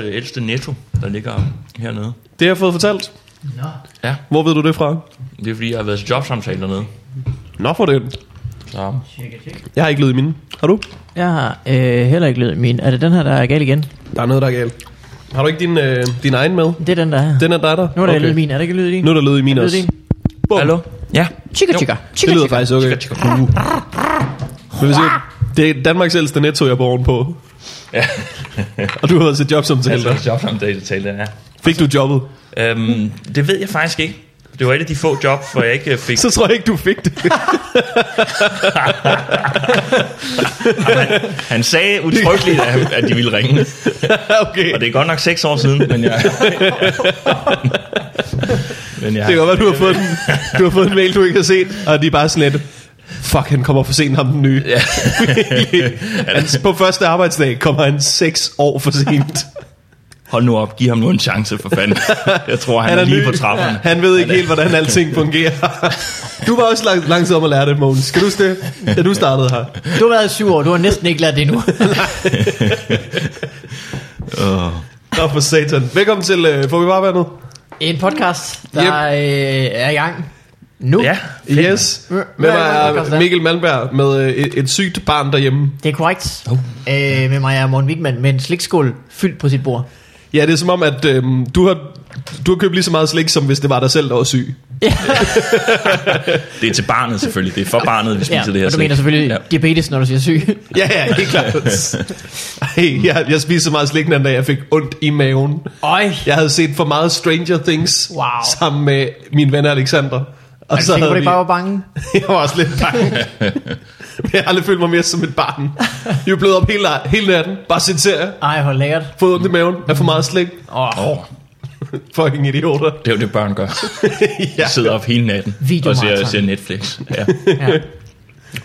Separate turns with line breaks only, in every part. øh, ældste netto, der ligger hernede.
Det har jeg fået fortalt.
Nå.
Ja,
Hvor ved du det fra?
det er fordi, jeg har været til jobsamtale dernede.
Nå for den.
Så
Tjek, tjek.
Jeg har ikke lyd i mine. Har du?
Jeg har øh, heller ikke lyd i min. Er det den her, der er gal igen?
Der er noget, der er galt. Har du ikke din, øh, din egen med?
Det er den, der er.
Den er dig der?
Nu er der lyd i min. Er der ikke lyd i din?
Nu er der lyd i min
Er der
også.
lyd i din?
Bum.
Hallo? Ja.
Tjekka,
Jo.
tjekka.
Det
Tjekka,
lyder
tjekka.
faktisk okay.
Tjekka, tjekka.
Uh. Men hvis jeg, det er Danmarks ældste netto, jeg bor ovenpå.
Ja.
Og du har været til jobsamtale
Altså,
der.
jobsamtale tale, ja.
Fik du jobbet?
Øhm, det ved jeg faktisk ikke. Det var et af de få job, hvor jeg ikke øh, fik...
Så tror jeg ikke, du fik det.
Han sagde udtrykkeligt, at, han- at de ville ringe.
okay.
Og det er godt nok seks år siden, men jeg... men jeg
Det kan godt være, du har fået en, du har fået en mail, du ikke har set, og de er bare sådan lidt, fuck, han kommer for sent ham den nye. Ja. han, på første arbejdsdag kommer han seks år for sent.
Hold nu op, giv ham nu en chance for fanden. Jeg tror, han,
Han
han er,
er
lige
ny.
på trapperne.
Han ved ikke helt, hvordan alting fungerer. Du var også lang, lang tid om at lære det, Mogens. Skal du huske det? Da du startede her.
Du har været i syv år. Du har næsten ikke lært det endnu.
Nå for satan. Velkommen til øh, Får vi varvandet?
en podcast, der øh, er i gang nu.
Ja,
Yes.
Hvem
Med mig
er det,
er
Carsten?
Mikkel Malmberg med øh, et, et sygt barn derhjemme.
Det er korrekt.
Oh.
Øh, med mig er Morten Wigman med en slikskål fyldt på sit bord.
Ja, det er som om, at øh, du, har, du har købt lige så meget slik, som hvis det var dig selv, der var syg.
det er til barnet selvfølgelig. Det er for barnet, vi spiser det her.
og du
slik.
mener selvfølgelig
Ja.
ja. diabetes, når du siger syg.
Ja, ja, helt klart. Ej, jeg, jeg spiste så meget slik den anden dag, jeg fik ondt i maven.
Øj.
Jeg havde set for meget Stranger Things
Wow.
sammen med min ven Alexander. Og
Og så tænker du ikke bare var bange?
Jeg var også lidt bange. Men jeg har aldrig følt mig mere som et barn. Jeg er blevet op hele, hele natten, bare set serier,
Ej, hvor lækkert.
fået ondt i maven, er for meget slik.
Åh, oh,
Åh,
Fucking idioter.
det er jo det, børn gør.
ja.
Jeg sidder op hele natten og
Videomaraton.
ser, ser Netflix. Ja.
ja.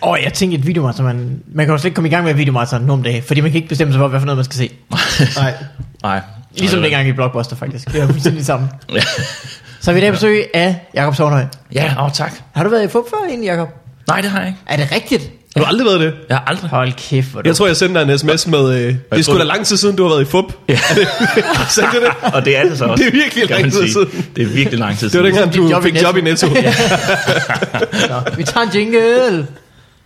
Åh, jeg tænkte et videomarathon. Man, man kan jo slet ikke komme i gang med et videomarathon nu om dagen, fordi man kan ikke bestemme sig for, hvad for noget man skal se.
Nej.
Nej.
Ligesom
Nej,
dengang i Blockbuster, faktisk. Det er fuldstændig det samme.
Ja.
Så har vi i dag besøg af Jakob Sovnøj.
Ja, åh, tak.
Har du været i fup før egentlig, Jakob?
Nej, det har jeg ikke.
Er det rigtigt?
Har du aldrig været det?
Jeg har aldrig...
Hold kæft, hvor du...
Jeg tror, jeg sendte dig en sms med, øh, det er sgu
tror-
da lang tid siden, du har været i FUP. Ja. Sagde du det?
Ah, Og det er det så også.
Det er virkelig
kan man
lang tid
sige.
siden.
Det er virkelig lang tid
Det var
siden.
dengang,
Dit
du
job i
fik job i Netto.
Nå, vi tager en jingle.
Take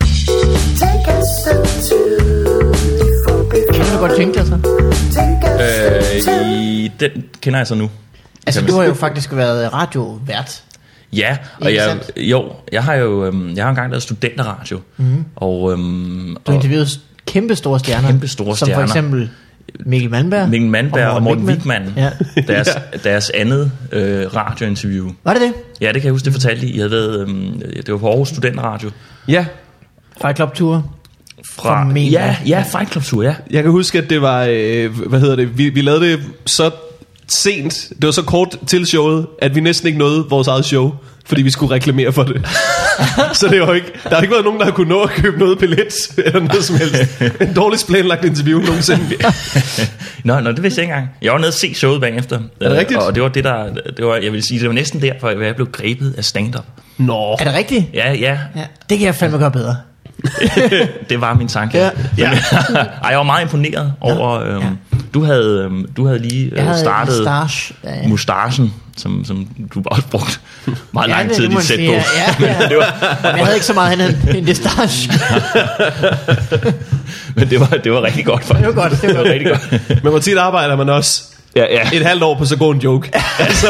us into the forbidden.
Kan du godt tænke dig så?
Take us into
Øh, i, den kender jeg så nu.
Altså,
Kan man
du har jo faktisk været radiovært.
Ja, og
Ikke
jeg, jo, jeg har jo øhm, jeg har engang lavet studenterradio. Mm. Og, øhm,
Mhm. Du
og
interviewede kæmpe store stjerner.
Kæmpe store
som
stjerner.
for eksempel Mikkel Malmberg.
Mikkel Mandberg og Morten Wigman,
Ja.
deres, deres andet øh, radiointerview.
Var det det?
Ja, det kan jeg huske, det fortalte I. I havde været, øhm, det var på Aarhus Studenterradio.
ja,
Fight Club Tour.
Fra,
Formentlig.
ja, ja, Fight Club Tour, ja.
Jeg kan huske, at det var, øh, hvad hedder det, vi, vi lavede det så sent, det var så kort til showet, at vi næsten ikke nåede vores eget show, fordi vi skulle reklamere for det. så det var ikke, der har ikke været nogen, der har kunnet nå at købe noget billet, eller noget som helst. En dårligst planlagt interview nogensinde.
Nå, nå, det vidste jeg ikke engang. Jeg var nede og se showet bagefter.
det
Øh,
rigtigt?
Og det var det, der, det var, jeg vil sige, det var næsten derfor, at jeg blev grebet af stand-up.
Nå.
Er det rigtigt?
Ja, ja,
Ja. Det kan jeg fandme gøre bedre.
det var min tanke.
Ja.
ja. Ej, jeg var meget imponeret over, øhm,
ja.
du havde, øhm, du havde lige øh,
Jeg havde
startet
mustache. Ja, ja.
mustachen, som, som du også brugte meget
Ja,
lang
det-
tid i
det må
dit sæt
man sige,
på.
ja, ja, ja.
det var,
Men jeg havde ikke så meget andet end det stash.
men det var, det var rigtig godt
Det
faktisk.
var godt. Det var
Det var
godt.
rigtig godt.
Men hvor tit arbejder man også
Ja, ja.
et halvt år på så god en joke. altså,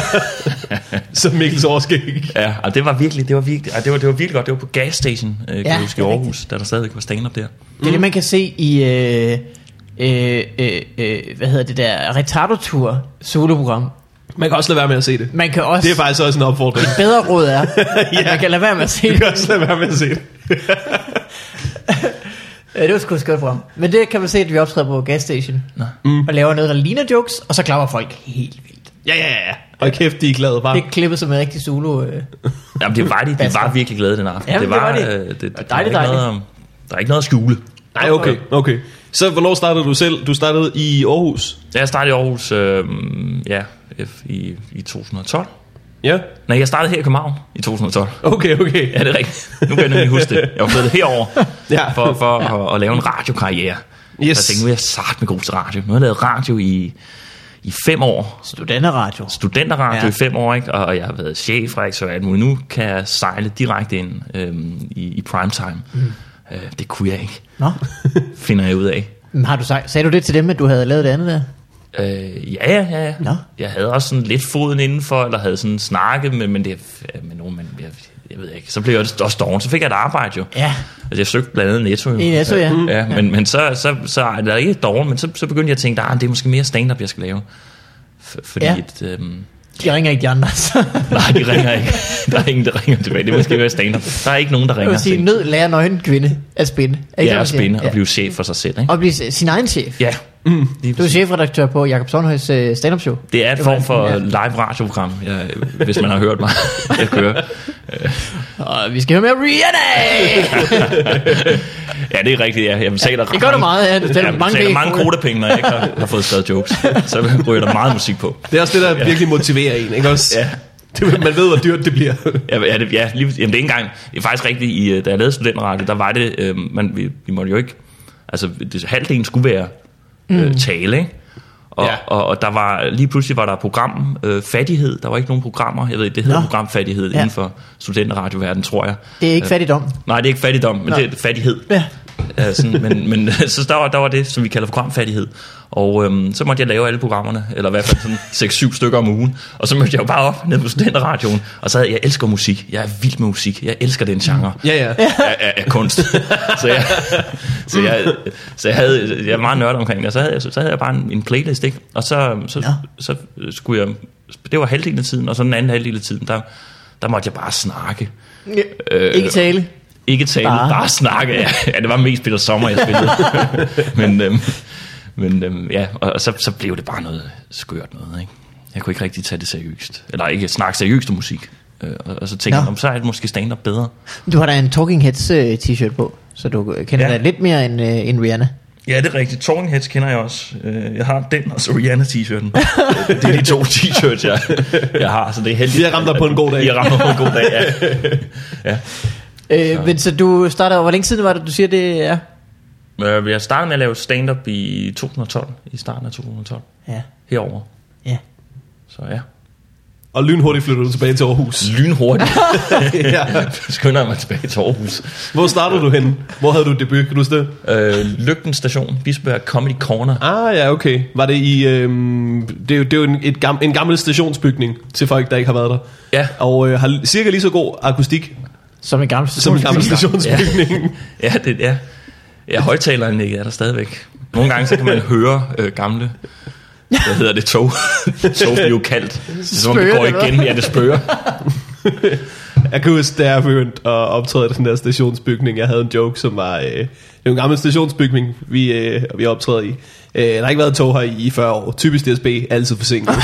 som Mikkels årskæg.
Ja, og det var virkelig, det var virkelig, og det var, det var virkelig godt. Det var på gas station, øh, kan
Ja,
ja, huske, i
det er
Aarhus, da der stadigvæk var stand-up der.
Det er det, man kan se i... Øh, øh, øh, øh, hvad hedder det der? Retardotur soloprogram.
Man kan også lade være med at se det.
Man kan også...
Det er faktisk også en opfordring.
Et bedre råd er, at
Ja.
man kan lade være med at se
Du
det.
kan også lade være med at se det.
Ja, det var sgu et skønt program. Men det kan man se, at vi optræder på gasstation. Mm. Og laver noget, der ligner jokes, og så klapper folk helt vildt.
Ja, ja, ja. Og kæft, de er glade bare.
Det er klippet som en rigtig solo. Øh.
Jamen, det var de, de var virkelig glade den aften.
Jamen, det var de.
øh, det, det, der, er
Dejligt,
ikke noget, at- der er ikke noget at skjule.
Nej, okay, okay. Så hvornår startede du selv? Du startede i Aarhus.
Da jeg startede i Aarhus, øh, ja, F- i, i 2012.
Ja.
Nej, jeg startede her i København i 2012.
Okay, okay.
Ja, det er rigtigt. Nu kan jeg nemlig huske det. Jeg var flyttet herover
Ja.
for, for at, at lave en radiokarriere.
Yes.
Så jeg tænkte, nu er jeg sart med god til radio. Nu har jeg lavet radio i, i fem år.
Studenterradio.
Studenterradio
Ja.
ja. i fem år, ikke? og og jeg har været chefredaktør og alt muligt. Nu kan jeg sejle direkte ind øhm, i, i primetime. Mm. Øh, det kunne jeg ikke,
Nå,
finder jeg ud af.
Men har du sagt, sagde du det til dem, at du havde lavet det andet der?
Øh, ja, ja, ja.
Nå.
ja. Jeg havde også sådan lidt foden indenfor, eller havde sådan snakket med, men det er- med nogen, man, jeg, jeg ved ikke. Så blev jeg også også doven, så fik jeg et arbejde jo.
Ja,
Altså, jeg søgte blandt andet Netto. Jo.
I Netto, ja. Mm.
ja men, men så, så, så eller ikke doven, men så, så begyndte jeg at tænke, at det er måske mere stand-up, jeg skal lave. F- fordi
Ja.
ja. et, øhm,
de ringer ikke de andre. Så
nej, de ringer ikke. Der er ingen, der ringer tilbage. Det er måske mere stand-up. Der er ikke nogen, der
jeg
ringer.
vil sige,
til-
nød lærer nøgen kvinde at spinde. Er ikke
ja, og
det, man siger?
spændende og blive chef for sig selv. Ikke?
Og blive s- sin egen chef.
Ja, mm.
Du er chefredaktør på Jakob Sonhøjs øh, stand-up show.
det er et form for
Ja.
live radioprogram, jeg, hvis man har hørt mig. Jeg kører.
Og vi skal høre med Rihanna!
Ja, det er rigtigt, ja. Jeg betaler
Det gør du meget, ja. Du betaler
jeg
mange
betaler
penge.
mange kodapenge, når jeg ikke har, har fået skrevet jokes. Så ryger der meget musik på.
Det er også det, der ja. virkelig motiverer en, ikke også?
Ja.
Det, man ved, hvor dyrt det bliver.
Ja, ja, det, ja lige, jamen, det er ikke engang, det er faktisk rigtigt, i, øh, da jeg lavede studenterradio, der var det, øh, man, vi, vi måtte jo ikke, altså det, halvdelen skulle være
Mm.
øh, tale, ikke? Og,
Ja.
ja. og, og der var lige pludselig var der program øh, fattighed. Der var ikke nogen programmer. Jeg ved ikke, det hedder
Nå.
programfattighed
Ja.
ja. inden for studenterradioverdenen, tror jeg. Øh,
Det er ikke fattigdom.
Nej, det er ikke fattigdom, men
Nå.
Nå. det er fattighed.
Ja.
Øh, sådan, men men altså, så der var, der var det, som vi kalder programfattighed. Og øhm, så måtte jeg lave alle programmerne, eller i hvert fald sådan 6-7 stykker om ugen. Og så mødte jeg jo bare op ned på studenterradioen, og så havde jeg, jeg elsker musik. Jeg er vild med musik. Jeg elsker den genre
Ja, ja.
af, af, af kunst. så jeg, så jeg, så jeg, havde, jeg er meget nørdet omkring det, og så havde jeg, så, så havde jeg bare en, en playlist, ikke? Og så, så,
Nå.
ja. så skulle jeg, det var halvdelen af tiden, og så den anden halvdel af tiden, der, der måtte jeg bare snakke.
Øh, ikke tale.
Ikke tale,
Bare.
bare, bare snakke. Ja, ja, det var mest Peter Sommer, jeg spillede. men øhm, men øhm, ja, og, og så, så blev det bare noget skørt noget, ikke? Jeg kunne ikke rigtig tage det seriøst. Eller ikke snakke seriøst om musik. Øh, og, og så tænkte
Nå.
jeg, "Nå, men så er det måske stand-up bedre.
Du har da en Talking Heads øh, t-shirt på, så du øh, kender ja.
Ja.
dig lidt mere end, øh, end Rihanna.
Ja, det er rigtigt. Talking Heads kender jeg også. Øh, Jeg har den og så Rihanna-t-shirten. det er de to t-shirts, jeg, jeg har, så det er heldigt.
Vi har ramt dig på en god dag.
Jeg har ramt dig på en god dag, ja.
Øh, men så du starter, hvor længe siden var det, du siger det er?
Øh, Jeg startede med at lave stand-up i 2012, i starten af 2012,
Ja.
herover.
Ja.
Så ja.
Og lynhurtigt flytter du tilbage til Aarhus.
Lynhurtigt
ja.
skynder jeg mig tilbage til Aarhus.
Hvor startede du henne? Hvor havde du debut? Kan du huske det?
Øh, Lygten Station, Bisbjerg Comedy Corner.
Ah ja, okay. Var det i... Øhm, det er jo, det er jo en, et gam, en gammel stationsbygning til folk, der ikke har været der.
Ja.
Og øh, har cirka lige så god akustik
Som en gammel
som en gammel
stationsby.
stationsbygning.
Ja, det ja. Ja, højtaleren ikke er der stadigvæk. Nogle gange så kan man høre øh, gamle, hvad hedder det, tog. tog bliver jo kaldt. Det er som om det
Spøger
går
det, hvad?
igen, ja, det spørger.
Jeg kan huske, da jeg begyndte at optræde i den der stationsbygning, jeg havde en joke, som var... Øh, det er jo en gammel stationsbygning, vi, øh, vi optræder i. Øh, der har ikke været tog her i 40 år. Typisk DSB, altid forsinket.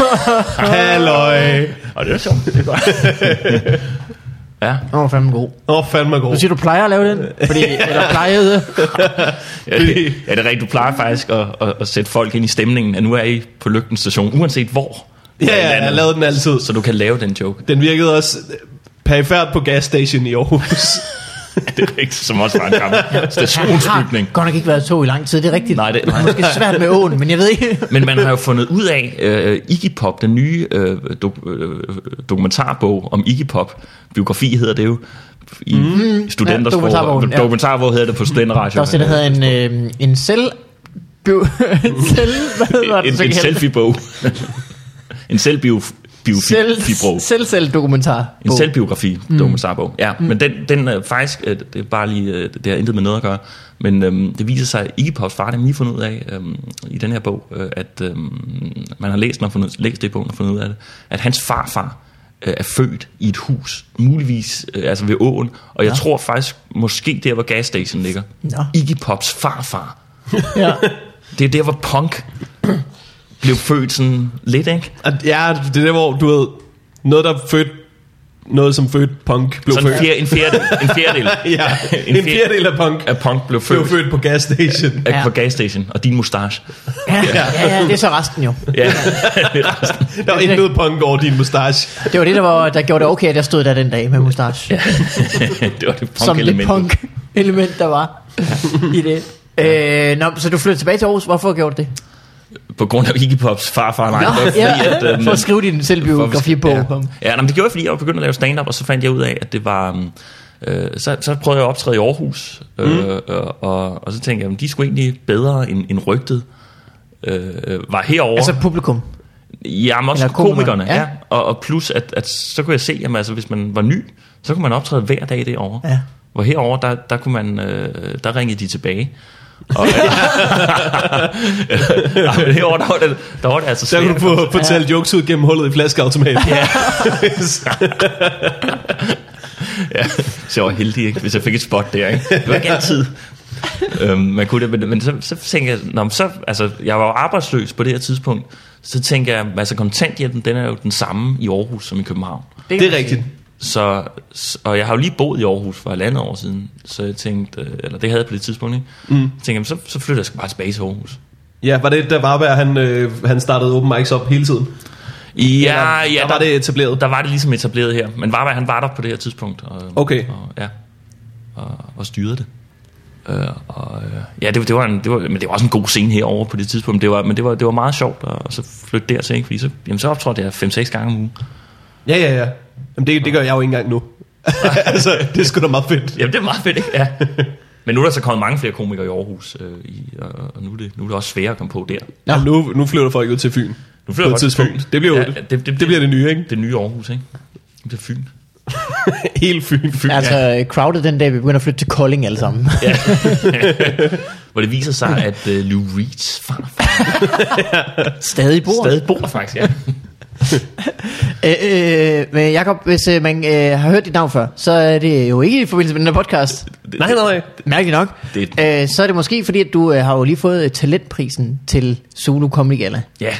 Halløj!
Og det er sjovt, det er godt. ja,
Åh, oh, fandme god.
Åh, oh, fandme
Du
god.
siger, du plejer at lave den? Fordi, eller plejede?
ja, det, ja, det er rigtigt. Du plejer faktisk at, at, at sætte folk ind i stemningen, at nu er I på Lygten Station, uanset hvor.
Ja,
i
ja,
landet.
jeg lavede den altid.
Så du kan lave den joke.
Den virkede også perifært på gasstation i Aarhus.
Det er rigtigt, som også var en gammel stationsbygning.
Godt nok ikke været tog i lang tid, det er rigtigt.
Nej, det- nej.
er måske svært med åen, men jeg ved ikke.
Men man har jo fundet ud af, øh, Iggy Pop, den nye øh, do, øh, dokumentarbog om Iggy Pop, biografi hedder det jo, i mm, studenters
ja, dokumentarbogen, ja.
dokumentarbog hedder det på studenterradio.
Der er også det, der hedder en, øh, en selv... Bio, en selv... Hvad hedder det?
en,
så
en
kan-
selfie-bog. en selvbio,
Selv,
biografi
selv, selv dokumentar.
En selvbiografi, mm. dokumentarbog. Ja, mm. men den, den er faktisk, øh, det er bare lige, øh, det har intet med noget at gøre, men øhm, det viser sig, at Iggy Pops far, den lige fundet ud af øhm, i den her bog, øh, at øhm, man har læst, den og fundet, læst det i bogen og fundet ud af det, at hans farfar øh, er født i et hus, muligvis øh, altså ved åen, og jeg ja. tror faktisk, måske der, hvor gasstation ligger.
Nå.
Iggy Pops farfar.
Ja.
Det er der, hvor punk blev født sådan lidt, ikke?
Og ja, det er der, hvor du ved, noget der fødte, noget som fødte punk, blev
Sådan en,
født.
fjer, en fjerdedel. En fjerdedel.
Ja, en,
fjer-
fjerdedel af punk
Af punk blev født.
blev født på gasstation.
Ja.
Ja.
På gasstation og din mustache.
Ja, ja, ja, det er så resten jo.
Ja.
Der var
det-
intet punk over din mustache.
Det var det, der, var, der gjorde det okay, at jeg stod der den dag med mustache. Ja,
det var det
som det
punk-element.
punk-element, der var i det. Øh, nå, så du flyttede tilbage til Aarhus. Hvorfor gjorde du det?
på grund af Iggy Pops farfar. Nej, det var fordi, at,
ja,
øhm,
for at skrive din selvbiografi på.
Ja, ja nej, men det gjorde jeg, fordi jeg begyndte at lave stand-up, og så fandt jeg ud af, at det var... øhm, Øh, så, så prøvede jeg at optræde i Aarhus, øh,
Mm.
øh, og, og så tænkte jeg, at de skulle egentlig bedre end, end rygtet øh, øh, var herover.
Altså publikum.
Ja, men også
Eller
komikerne,
komikerne,
komikerne ja.
ja.
ja. Og, og plus, at, at så kunne jeg se, at altså, hvis man var ny, så kunne man optræde hver dag derovre.
Ja.
Hvor herover der, der, kunne man, øh, der ringede de tilbage. Og, ja. ja, men herovre, der var det, der var det altså
Der
svært.
kunne du få fortælle jokes ud gennem hullet i flaskeautomaten.
Ja. ja. Så jeg var heldig, ikke? hvis jeg fik et spot der. Ikke? Det var ikke altid. øhm, man kunne det, men, men så, så tænkte jeg, nå, men så, altså, jeg var jo arbejdsløs på det her tidspunkt, så tænkte jeg, altså kontanthjælpen, den er jo den samme i Aarhus som i København.
kan
Det er
man
rigtigt.
sige.
Så, s- og jeg har jo lige boet i Aarhus for halvandet år siden, så jeg tænkte, øh, eller det havde jeg på det tidspunkt, ikke? Mm. Jeg tænkte, jamen, så, så flytter jeg sgu bare tilbage til Aarhus.
Ja, var det, der Varberg, han, øh, han startede open mics op hele tiden?
Ja, ja,
der, var det etableret.
der var det ligesom etableret her. Men Varberg, han var der på det her tidspunkt. Og,
Okay.
Og, ja, og, og styrede det. Øh, og, øh, ja, det, det, var en, det var, men det var også en god scene herovre på det tidspunkt. Det var, men det var, det var meget sjovt at, at så flytte dertil, ikke? fordi så, jamen, så optrådte jeg 5-6 gange om ugen.
Ja, ja, ja. Jamen, det, det gør jeg jo ikke engang nu. altså, det er sgu da meget fedt.
Jamen, det er meget fedt, ikke? Ja. Men nu er der så kommet mange flere komikere i Aarhus, øh, i, og, og nu, er det, nu er det også sværere at komme på der.
Ja. Nu, nu flytter folk ud til Fyn.
Nu
På et
folk til
tidspunkt.
Fyn.
Det bliver jo-
det, det,
Det bliver det nye, ikke?
det nye Aarhus, ikke? Det bliver Fyn.
Hele Fyn. Fyn.
Altså, øh, crowded den dag, vi begynder at flytte til Kolding alle sammen.
Ja. Hvor det viser sig, at uh, Lou Reeds farfar
Stadig bor.
stadig bor der faktisk, ja.
Øh, øh, men Jacob, hvis øh, man øh, har hørt dit navn før, så er det jo ikke i forbindelse med den her podcast.
Nej, nej, nej.
Mærkeligt nok.
Det-
øh, så er det måske fordi, at du øh, har jo lige fået øh, talentprisen til Zulu Comedy Gala.
Ja,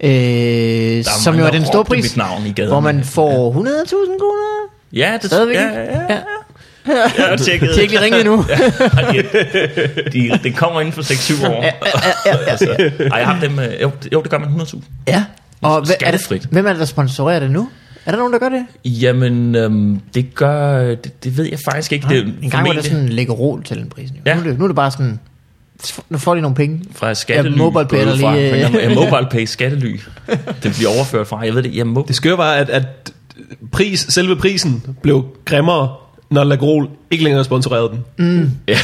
Øh,
Der er
som
mange,
jo er
der råbte
den store pris,
mit navn i gaden.
hvor man får 100.000 kroner.
ja det
Stadigvæk
ja,
ikke?
ja, ja. Jeg har tjekket.
De har ikke lige ringet endnu.
de, de, det kommer inden for 6-7 år. altså, ej, jeg har dem, øh, jo, det- jo, det gør man 100.000.
ja. Og hvad, er
Skattefrit.
det, hvem er det, der sponsorerer det nu? Er der nogen, der gør det?
Jamen, øhm, det gør... øh, Det, det ved jeg faktisk ikke. Det er jo
en gang var
Øh, formentlig
det sådan en lækkerol til den prisen.
Ja.
Ja. Nu, er det, nu er det bare sådan, nu får de nogle penge.
fra skattely.
Ja, MobilePay
gået
er der
fra,
lige, øh.
på en eller anden måde. Ja, MobilePay, skattely. Det bliver overført fra. Jeg ved det. Ja, mo-
Det skøre var, at, at pris, selve prisen blev grimmere, når Lagrol ikke længere sponsorerede den.
ja.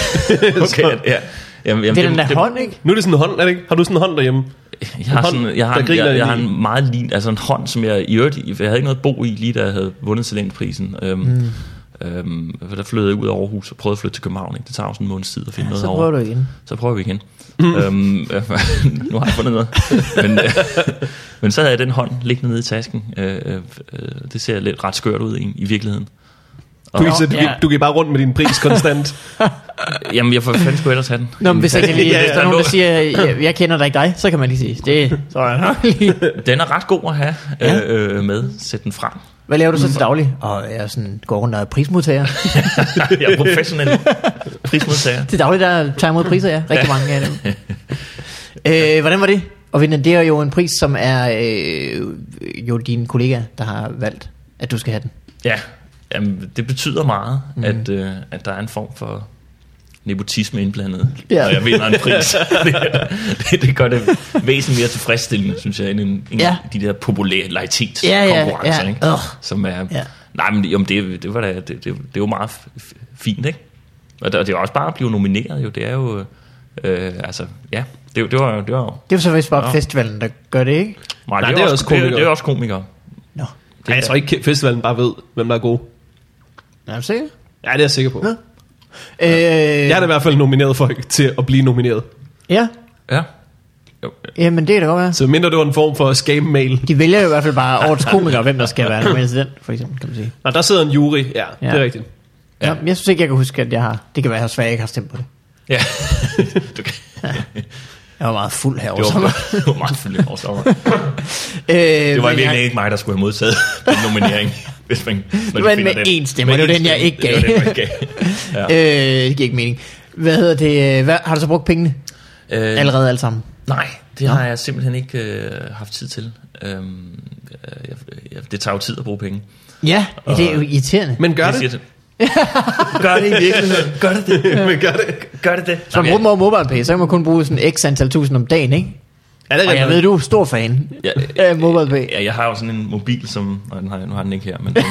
Okay, ja. Jamen, jamen,
Det er den der hånd, ikke?
Nu er det sådan en hånd, er det ikke? Har du sådan en hånd derhjemme?
Jeg har,
hånd,
sådan, jeg har,
der
en,
griner
jeg,
ind
jeg har
i.
en meget lin, altså en hånd, som jeg i øvrigt, jeg havde ikke noget bo i, lige da jeg havde vundet talentprisen. Øhm, mm. øhm, for der flyttede jeg ud af Aarhus og prøvede at flytte til København. Ikke? Det tager jo sådan en måneds tid at finde ja, noget
Så
herovre.
prøver du igen.
Så prøver vi igen. Mm. Øhm, øh, nu har jeg fundet noget. Men, øh, men så havde jeg den hånd liggende nede i tasken. Øh, øh, øh, det ser lidt ret skørt ud i, i virkeligheden.
Du, kan, så, du,
ja.
kan- du gik bare rundt med din pris konstant.
Jamen, jeg for fanden skulle jeg ellers have den.
Nå, men hvis, jeg kan lige,
Ja,
ja,
ja,
hvis der er nogen, der siger, jeg, jeg kender dig ikke dig, så kan man lige sige, det så er jeg nok lige.
Den er ret god at have øh, øh, med. Sæt den frem.
Hvad laver du så til daglig? Og jeg er sådan, går rundt og er prismodtager.
Jeg er professionel prismodtager.
til daglig, der tager jeg imod priser, ja. Rigtig mange af dem. øh, hvordan var det at vinde? Det er jo en pris, som er øh, jo din kollega, der har valgt, at du skal have den.
Ja, jamen, det betyder meget,
Mhm.
mm. at, øh, at der er en form for nepotisme indblandet,
Ja.
ja. når jeg vinder en pris. det, det gør det væsentligt mere tilfredsstillende, synes jeg, end, en, end
Ja.
ja. de der populære
Ja, ja,
lejtitskonkurrencer,
ja.
ikke?
Ugh.
Som er,
Ja.
ja. nej, men jo, men det, det, var da, det, det, det er jo meget f- f- fint, ikke? Og det, og det er også bare at blive nomineret, jo, det er jo, øh, altså, ja, det, det var det var jo,
Det er jo så vist bare
Nå.
festivalen, der gør det, ikke?
nej,
det er også
det, er-
komikere.
det er også komikere.
Nå,
Ej, jeg tror ikke, festivalen bare ved, hvem der er god.
er du sikker?
Ja, det er jeg sikker på.
Nå. Øh,
Jeg har da i hvert fald nomineret folk til at blive nomineret.
ja,
Ja. Jo,
jamen det kan da godt være.
Så mindre det var en form for scam-mail.
De vælger jo i hvert fald bare årets komiker, hvem der skal være nomineret til den, for eksempel, kan man sige.
Nå, der sidder en jury. Ja, ja. det er
Ja.
rigtigt.
Ja. Nå, men jeg synes ikke, jeg kan huske, at jeg har... Det kan være, at jeg desværre ikke har stemt på det.
ja. du kan,
Jeg var meget fuld herovre.
det,
sommer.
var, det var meget fyldt over sommer.
Øh,
Det var
men
virkelig
jeg-
ikke mig, der skulle have modtaget den nominering. hvis man, når
Det
du
var den
finder
med én stemme, og det var
én
den, jeg
stemme.
ikke gav.
Det var den, man gav. Ja.
Øh, det giver ikke mening. Hvad hedder det? Hvad, har du så brugt pengene
Øh,
allerede alle sammen?
Nej, det har jeg simpelthen ikke øh, haft tid til. Øhm, øh, jeg, jeg, det tager jo tid at bruge penge.
Ja, det er jo irriterende.
Men gør
Jeg
det.
siger Gør det i virkeligheden. Gør det det.
Men gør det.
Gør det det.
så man
Jamen,
bruger dem over MobilePay, så kan man kun bruge sådan x antal tusind om dagen, ikke?
Er det
Og jeg
rigtigt?
ved, du er stor fan
Ja,
af MobilePay.
Ja, jeg har jo sådan en mobil, som... Og den har, jeg- nu har den ikke her, men... Den,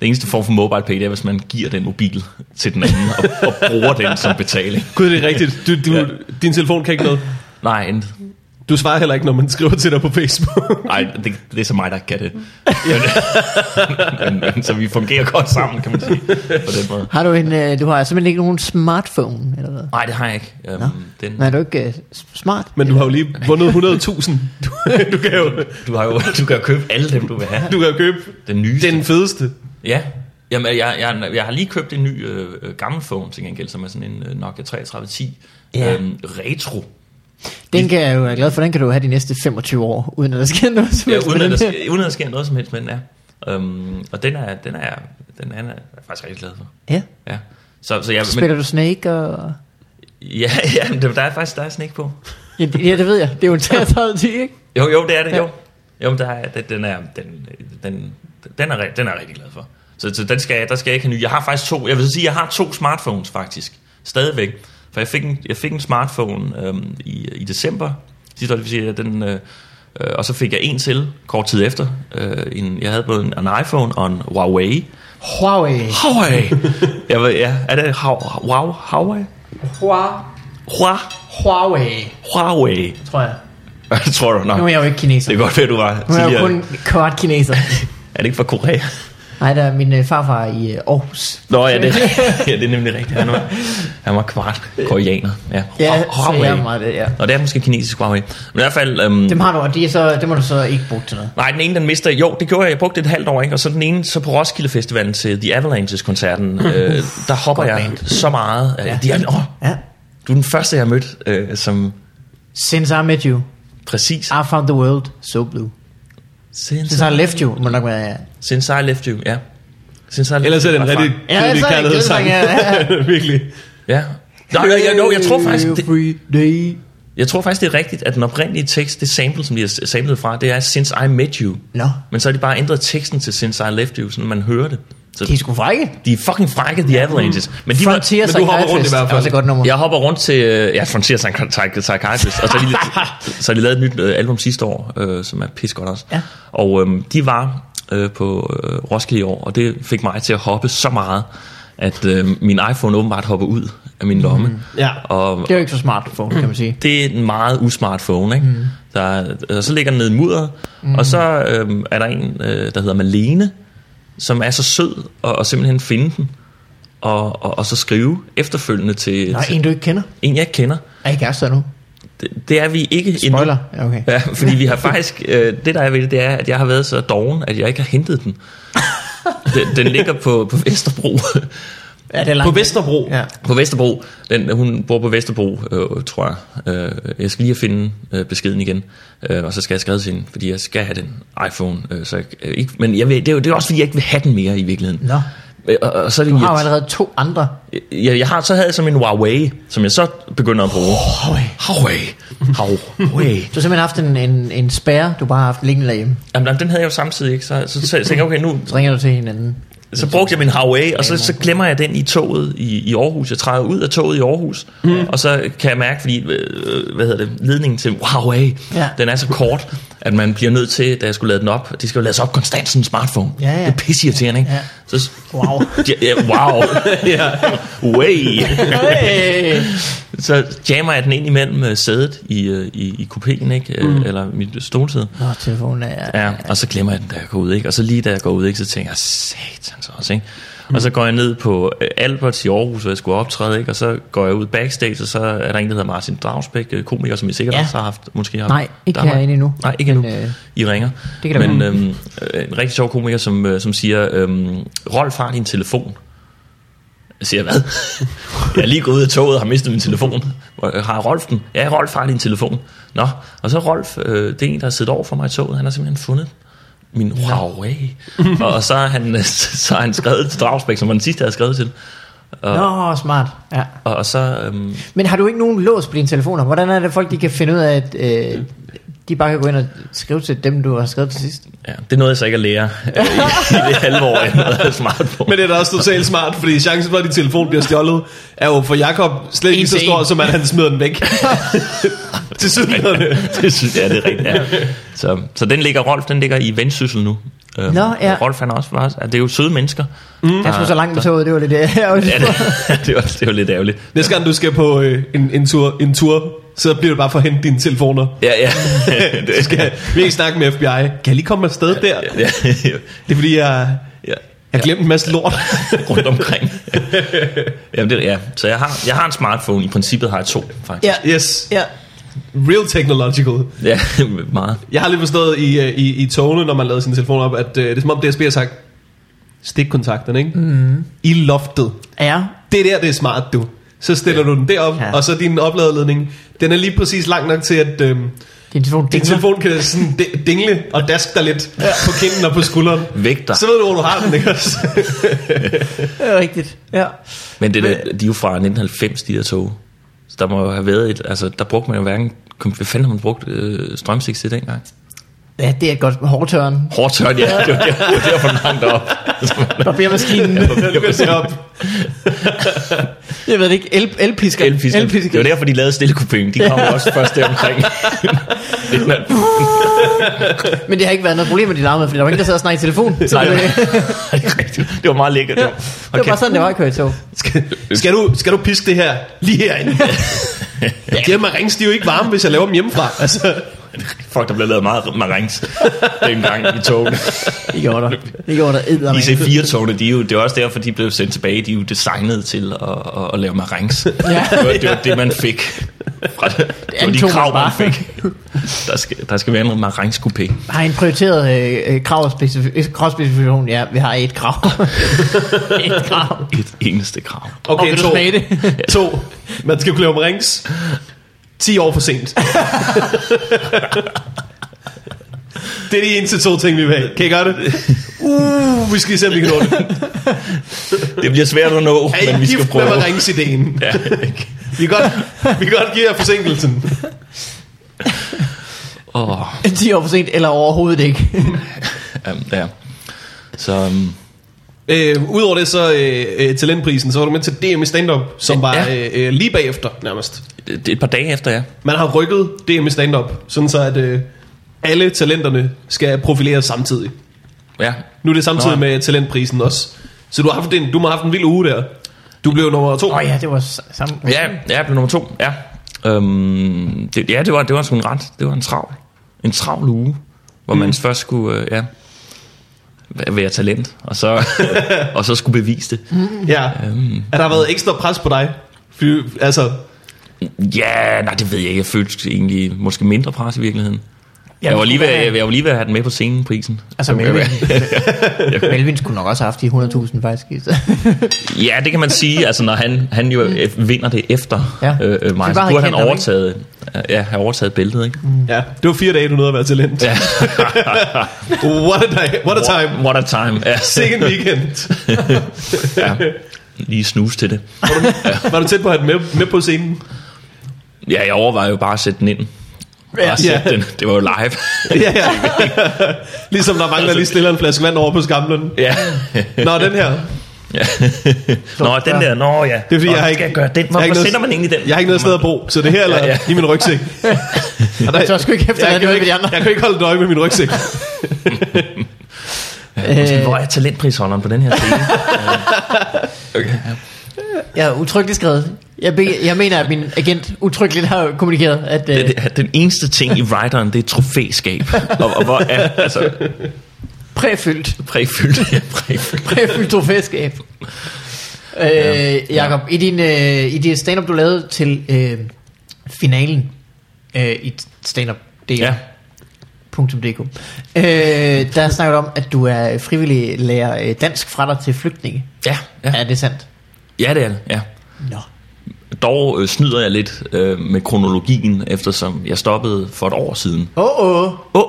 det eneste form for mobile pay, det er, hvis man giver den mobil til den anden, og, og bruger den som betaling.
Gud, det er rigtigt. Du, du, ja. Din telefon kan ikke noget.
Nej, intet.
Du svarer heller ikke, når man skriver til dig på Facebook.
Nej, det, det er så mig, der kan det. Men, men, men, så vi fungerer godt sammen, kan man sige. På den måde.
Har du en, øh, du har simpelthen ikke nogen smartphone, eller hvad?
Nej, det har jeg ikke. Um,
Nå.
den,
Men er du ikke øh, s- smart?
Men du har jo lige vundet 100.000. Du, du, kan jo,
du, har jo, du kan jo købe alle dem, du vil have.
du kan jo købe
Den nyeste.
den fedeste.
Ja. Jamen, jeg, jeg, jeg har lige købt en ny øh, øh, gammel phone til gengæld, som er sådan en øh, Nokia 3310.
Ja.
Ja. Øhm, retro.
Den kan jeg jo være glad for, den kan du have de næste 25 år, uden at der sker noget som
Ja,
helst med
uden, at
den
der,
her.
sk- uden at der sker noget som helst med den er. Øhm, og den er, den er, den er, den er jeg faktisk rigtig glad for.
Ja.
Ja. Så, så jeg,
Spiller du Snake og...
ja, ja, men der er faktisk der er snak på.
Ja, det- ja, det ved jeg. Det er jo en 33 10, ikke?
Jo, jo, det er det,
Ja.
jo. Jo, men der er, den, den, er, den, den, den, er, ri- den er jeg rigtig glad for. Så, så den skal, jeg- der skal jeg ikke have ny. Jeg har faktisk to, jeg vil sige, jeg har to smartphones faktisk, stadigvæk. For jeg fik en, jeg fik en smartphone øhm, i, i december sidste år, det vil sige, at den, øh, øh, og så fik jeg en til kort tid efter. Øh, en, jeg havde både en, en iPhone og en Huawei.
Huawei.
Huawei! jeg ved, ja, er det Hua- Wow, Huawei?
Hua-
Hua,
Huawei,
Huawei.
tror jeg.
Det tror du nok.
Nu er jeg jo ikke kineser.
Det er godt, at du var
Nu er jeg jo
tidligere.
kun kvart kineser.
Er det ikke fra Korea?
Nej, der er min øh, farfar i øh, Aarhus.
Nå ja, det, ja, det er nemlig rigtigt. Han var, han var kvart koreaner. Ja,
Ja,
Hua-
så jeg er meget det, ja.
Nå, det er måske kinesisk Huawei. Men i hvert fald... Øhm,
Dem har du, og de er så, dem har du så ikke brugt til noget.
nej, den ene, den mister... Jo, det gjorde jeg. Jeg brugte det et halvt år, ikke? Og så den ene, så på Roskilde Festivalen til The Avalanches-koncerten, øh, der hopper
godt
jeg
band.
så meget. Ja. De er, åh,
Ja.
du er den første, jeg har mødt, øh, som
Since I met you,
præcis...
I found the world so blue.
Since,
Since I left you, må nok være... Ja.
since I left you, ja. Since I left
Ellers er
you,
det en
var
rigtig
fra-
Ja,
kedelig
så er det en kedelig
kærlighedssang.
sang,
Virkelig.
Ja. Nå, jeg, jeg, jeg, jeg tror faktisk... Det,
Every day.
Jeg tror faktisk, det er rigtigt, at den oprindelige tekst, det sample, som de har samlet fra, det er Since I Met You.
Nå.
Men så har de bare ændret teksten til Since I Left You, sådan man hører det. Så
De er sgu frække.
de er fucking frække, The Avalanches. Men de var,
Frontier
men du hopper rundt i
Psychiatrist
hvert
er
fald.
også et godt nummer.
jeg hopper rundt til øh, ja, Frontier Psych- Psych- Psychiatrist, og så har de, så har de lavet et nyt øh, album sidste år, øh, som er pis godt også.
Ja.
Og øhm, de var øh, på øh, Roskilde i år, og det fik mig til at hoppe så meget, at øh, min iPhone åbenbart hopper ud af min lomme.
Mhm.
Ja.
Og,
Det er jo ikke så smart for, kan man sige.
det er en meget usmart phone, ikke? Mm. Der, og så ligger den nede i mudder, mm. og så øhm, er der en, øh, der hedder Malene, som er så sød og, og simpelthen finde den, og, og, og så skrive efterfølgende til,
Nå,
til
en du ikke kender.
en, jeg ikke kender.
Er ikke kærester nu?
Det, det er vi ikke
Spoiler.
endnu.
Ja, okay.
Ja, fordi vi har faktisk, øh, det der er ved det, det er, at jeg har været så doven, at jeg ikke har hentet den. den, den ligger på, på Vesterbro.
Ja, det er langt.
På Vesterbro.
Ja.
På Vesterbro. Den, hun bor på Vesterbro, øh, tror jeg. Øh, jeg skal lige have finde øh, beskeden igen, øh, og så skal jeg skrive til hende, fordi jeg skal have den iPhone. Øh, så jeg, øh, ikke, men jeg vil, det, er jo, det er også, fordi jeg ikke vil have den mere i virkeligheden.
Nå.
Øh, og, og så er det
Du har jo
irrit-
allerede to andre.
jeg, jeg har så havde jeg som en Huawei, som jeg så begynder at bruge. Huawei. Huawei.
Du har simpelthen haft en, en, en spærre, du bare har haft liggende derhjemme.
Jamen, jamen, den havde jeg jo samtidig, ikke? Så, så, så, så tænkte jeg, okay, nu,
Så ringer du til hinanden.
Så brugte jeg min Huawei, og så, så glemmer jeg den i toget i, i Aarhus. Jeg træder ud af toget i Aarhus, mm. og så kan jeg mærke, fordi øh, hvad hedder det, ledningen til Huawei,
Ja.
ja. den er så kort, at man bliver nødt til, da jeg skulle lade den op, de skal jo lades op konstant sådan en smartphone.
Ja, ja.
Det er pisseirriterende, ikke?
Ja.
Så,
Wow.
ja, ja, wow.
Ja.
Way.
Hey.
så jammer jeg den ind imellem øh, sædet i, øh, i, i kupéen, ikke? Mm. Eller mit stolsæde.
Nå, telefonen er...
Ja, og så glemmer jeg den, da jeg går ud, ikke? Og så lige da jeg går ud, ikke, så tænker jeg, satans også, ikke? Og så
Mm.
går jeg ned på øh, Alberts i Aarhus, hvor jeg skulle optræde, ikke? Og så går jeg ud backstage, og så er der en, der hedder Martin Dragsbæk, øh, komiker, som I sikkert
Ja.
ja. også har haft, måske har
Nej, ikke
der har-
herinde endnu.
Nej, ikke endnu.
Men, øh,
I ringer.
det kan da
Men øhm, øh, en rigtig sjov komiker, som, øh, som siger, øhm, Rolf har din telefon. Jeg siger, hvad? jeg er lige gået ud af toget og har mistet min telefon. Hvor- øh, Har Rolf den? Ja, Rolf har din telefon. Nå, og så Rolf, øh, det er en, der har siddet over for mig i toget, han har simpelthen fundet min Huawei. og, og så har han, øh, så har han skrevet til Dragsbæk, som var den sidste, jeg havde skrevet til.
Nå, smart. Ja.
Og, og så... Øhm,
Men har du ikke nogen lås på dine telefoner? Hvordan er det, folk de kan finde ud af, at øh, de bare kan gå ind og skrive til dem, du har skrevet til sidst.
Ja, det nåede jeg så ikke at lære øh, i, i det halve år, jeg havde smartphone.
Men det er da også totalt smart, fordi chancen for, at din telefon bliver stjålet, er jo for Jakob slet ikke
En
så
til
stor,
en.
som at han smider den væk. til sydenlande.
det synes jeg, det er rigtigt. Ja. Så, så den ligger, Rolf, den ligger i vendsyssel nu. Øhm,
Nå, ja.
og Rolf, han er også bare, altså, det er jo søde mennesker. Mm.
Jeg skulle så langt med toget, det var lidt ærgerligt.
Ja, det, det, var, det var lidt ærgerligt.
Næste gang du skal på øh, en, en, tur, en tur, så bliver det bare for at hente dine telefoner.
Ja, ja. det,
Du skal virkelig snakke med FBI. Kan jeg lige komme afsted der?
ja, ja,
Det er fordi, jeg,
ja,
jeg har glemt en masse lort.
rundt omkring. Jamen, det, ja. Så jeg har, jeg har en smartphone. I princippet har jeg to, faktisk.
Ja.
Yes.
Ja.
Real technological.
Ja, meget.
Jeg har lige forstået i, øh, i, i togene, når man lavede sin telefon op, at øh, det er som om DSB har sagt, stikkontakterne, ikke? Mm. I loftet.
Ja.
Det er der, det er smart, du. Så stiller ja. du den derop, ja.
Ja.
og så din opladeledning, den er lige præcis lang nok til, at øh,
Din telefon
din
dingler.
telefon kan sådan di- dingle og daske dig lidt ja. på kinden og på skulderen.
Vægter.
Så ved du, hvor du har den, ikke også?
Det er rigtigt. Ja.
Men det der, de er jo fra 1990, de der tog. Så der må jo have været et... Altså, der brugte man jo hverken... kom- Hvad fanden har man brugt øh, strømstik til dengang?
Ja, det er et godt hårdtørn.
Hårdt tørt, ja. Det var der- det var derfor langt op.
Barbermaskinen.
Den bliver sat op.
Jeg ved det ikke. El, elpisker.
Elfisker. Det var derfor, de lavede stillekupingen. De kom jo også først der omkring.
Men det har ikke været noget problem med de larmer, fordi der var ingen, der sad og snakkede i telefon. Så
Nej,
det,
det var rigtigt. Det var meget lækkert. Okay.
det var bare sådan, det var at køre i tog.
Skal, skal, du, skal du piske det her lige herinde? ja. De her marings, de er jo ikke varme, hvis jeg laver dem hjemmefra. Altså,
Fuck, der blev lavet meget marings dengang i togene.
Det gjorde der. Det gjorde der eddermame.
IC4-togene, de er jo, det er også derfor, de blev sendt tilbage. De er jo designet til at, at, at lave marings. Ja. Det, var, det var det, man fik. Fra, det var de
antog man
krav, man
bare.
fik. Der skal, der skal være en marings-coupé.
Har en prioriteret øh, øh, krav og specif- kravspecifikation? Ja, vi har et krav. et krav.
Et eneste krav.
Og vil du smage det?
to. Man skal kunne lave marings. 10 år for sent. det er de eneste to ting, vi vil have. Kan I gøre det? Uh, vi skal lige se, om vi kan nå det.
Det bliver svært at nå,
Er
men
I
vi skal
gift med
prøve.
marings-ideen?
Ja,
Vi kan godt, vi kan godt give jer forsinkelsen.
oh,
10 år for sent, eller overhovedet ikke.
ja. Øhm, Så, um,
Øh, Udover det så øh, øh, talentprisen, så var du med til DM i stand-up, som var
Ja.
øh, øh, lige bagefter nærmest.
det er et par dage efter, ja.
Man har rykket DM i stand-up, sådan så at øh, alle talenterne skal profileres samtidig.
ja.
Nu er det samtidig
Nå.
med talentprisen også. Så du har haft en, du må have haft en vild uge der. Du blev nummer to.
Åh oh, ja, det var s- samme.
Ja, ja, jeg blev nummer to, ja. Øhm, det, ja, det var, det var sgu en ret, det var en travl, en travl uge, hvor mm. man først skulle, øh, ja, væ- være talent, og så, og så skulle bevise det.
ja. Er der været ekstra pres på dig? Fy, altså,
Ja, nej, det ved jeg ikke. Jeg følte egentlig måske mindre pres i virkeligheden. Jeg var, lige ved, jeg, jeg var lige ved at have den med på scenen, prisen.
Altså Melvin. Melvin skulle nok også have haft de 100.000 faktisk.
Ja, det kan man sige. Altså, når han, han jo øh, vinder det efter
Ja.
ja. øh, øh, mig,
Det
så
var
burde han
han kendt ham,
overtaget, ja, have overtaget bæltet, ikke?
ja. Det var fire dage, du nåede at være talent.
Ja.
What a, day, what a time.
What a time. Ja.
Sikke en weekend.
ja. Lige snus til det.
Var du tæt på at have den med, med på scenen?
Ja, jeg overvejede jo bare at sætte den ind. Bare
Ja.
sætte den. Det var jo live.
Ja, ja. ligesom der mangler lige stiller en flaske vand over på skamlen.
ja.
Nå, den her.
ja. Nå, den der. Nå, ja.
Det er fordi,
Nå,
jeg har ikke,
skal gøre den.
jeg har ikke
Hvorfor
noget-
sender man egentlig den?
Jeg har ikke noget sted at bo, så det her eller ja,
Ja,
ja.
ja.
i min rygsæk. Og der,
Jeg tør sgu ikke efterlade
jeg,
det
kan
ude
ikke,
ved de andre.
jeg kan ikke holde et øje med min rygsæk.
Måske,
Øh.
Hvor er talentprisholderen på den her scene?
Jeg er utryggeligt skrevet. Jeg, be, jeg mener, at min agent utryggeligt har kommunikeret, at... Øh,
Den, den eneste ting i writeren, det er et trofæskab. Og, og hvor er, altså,
præfyldt.
præfyldt. Ja, præfyldt.
Præfyldt trofæskab. Øh, Jakob, i din øh, i det stand-up, du lavede til øh, finalen øh, i stand-up
Ja.
.dk, øh, der snakker du om, at du er frivillig lærer øh, dansk fra dig til flygtninge.
Ja,
Ja.
ja.
Er det sandt?
ja, det er det. Ja.
Nå.
Dog øh, snyder jeg lidt øh, med kronologien, eftersom jeg stoppede for et år siden.
Åh, oh, åh. Oh.
Åh,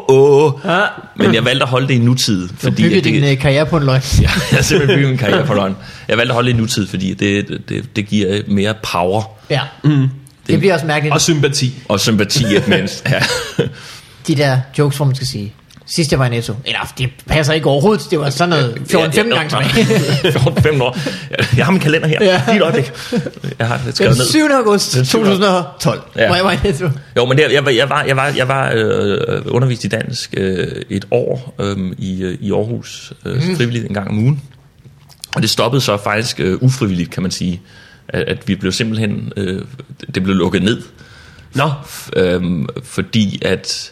oh, oh.
Ah.
Men jeg valgte at holde det i nutid.
Du har
Fordi
bygget
at det,
din øh, karriere på en løgn.
Ja, jeg har simpelthen bygget en karriere for løgn. Jeg valgte at holde det i nutid, fordi det, det, det giver mere power
Ja. Mm. Det bliver også mærkeligt.
Og sympati.
og sympati, at mens... Ja.
de der jokes, hvor man skal sige, sidst jeg var i Netto, eller det passer ikke overhovedet, det var sådan noget 14-15 gange tilbage.
14-15 år. Jeg har min kalender her.
Ja.
Ja. Lige et øjeblik. Jeg har det skrevet
Den
ned.
7. august
Den syvende.
2012,
Ja.
hvor jeg var i Netto.
Jo, men der, jeg, var- jeg var, jeg var, jeg var øh, undervist i dansk øh, et år øh, i, øh, i Aarhus øh, frivilligt en gang om ugen. Og det stoppede så faktisk øh, ufrivilligt, kan man sige. At, at vi blev simpelthen, øh, det blev lukket ned. Nå. F, øh, fordi at,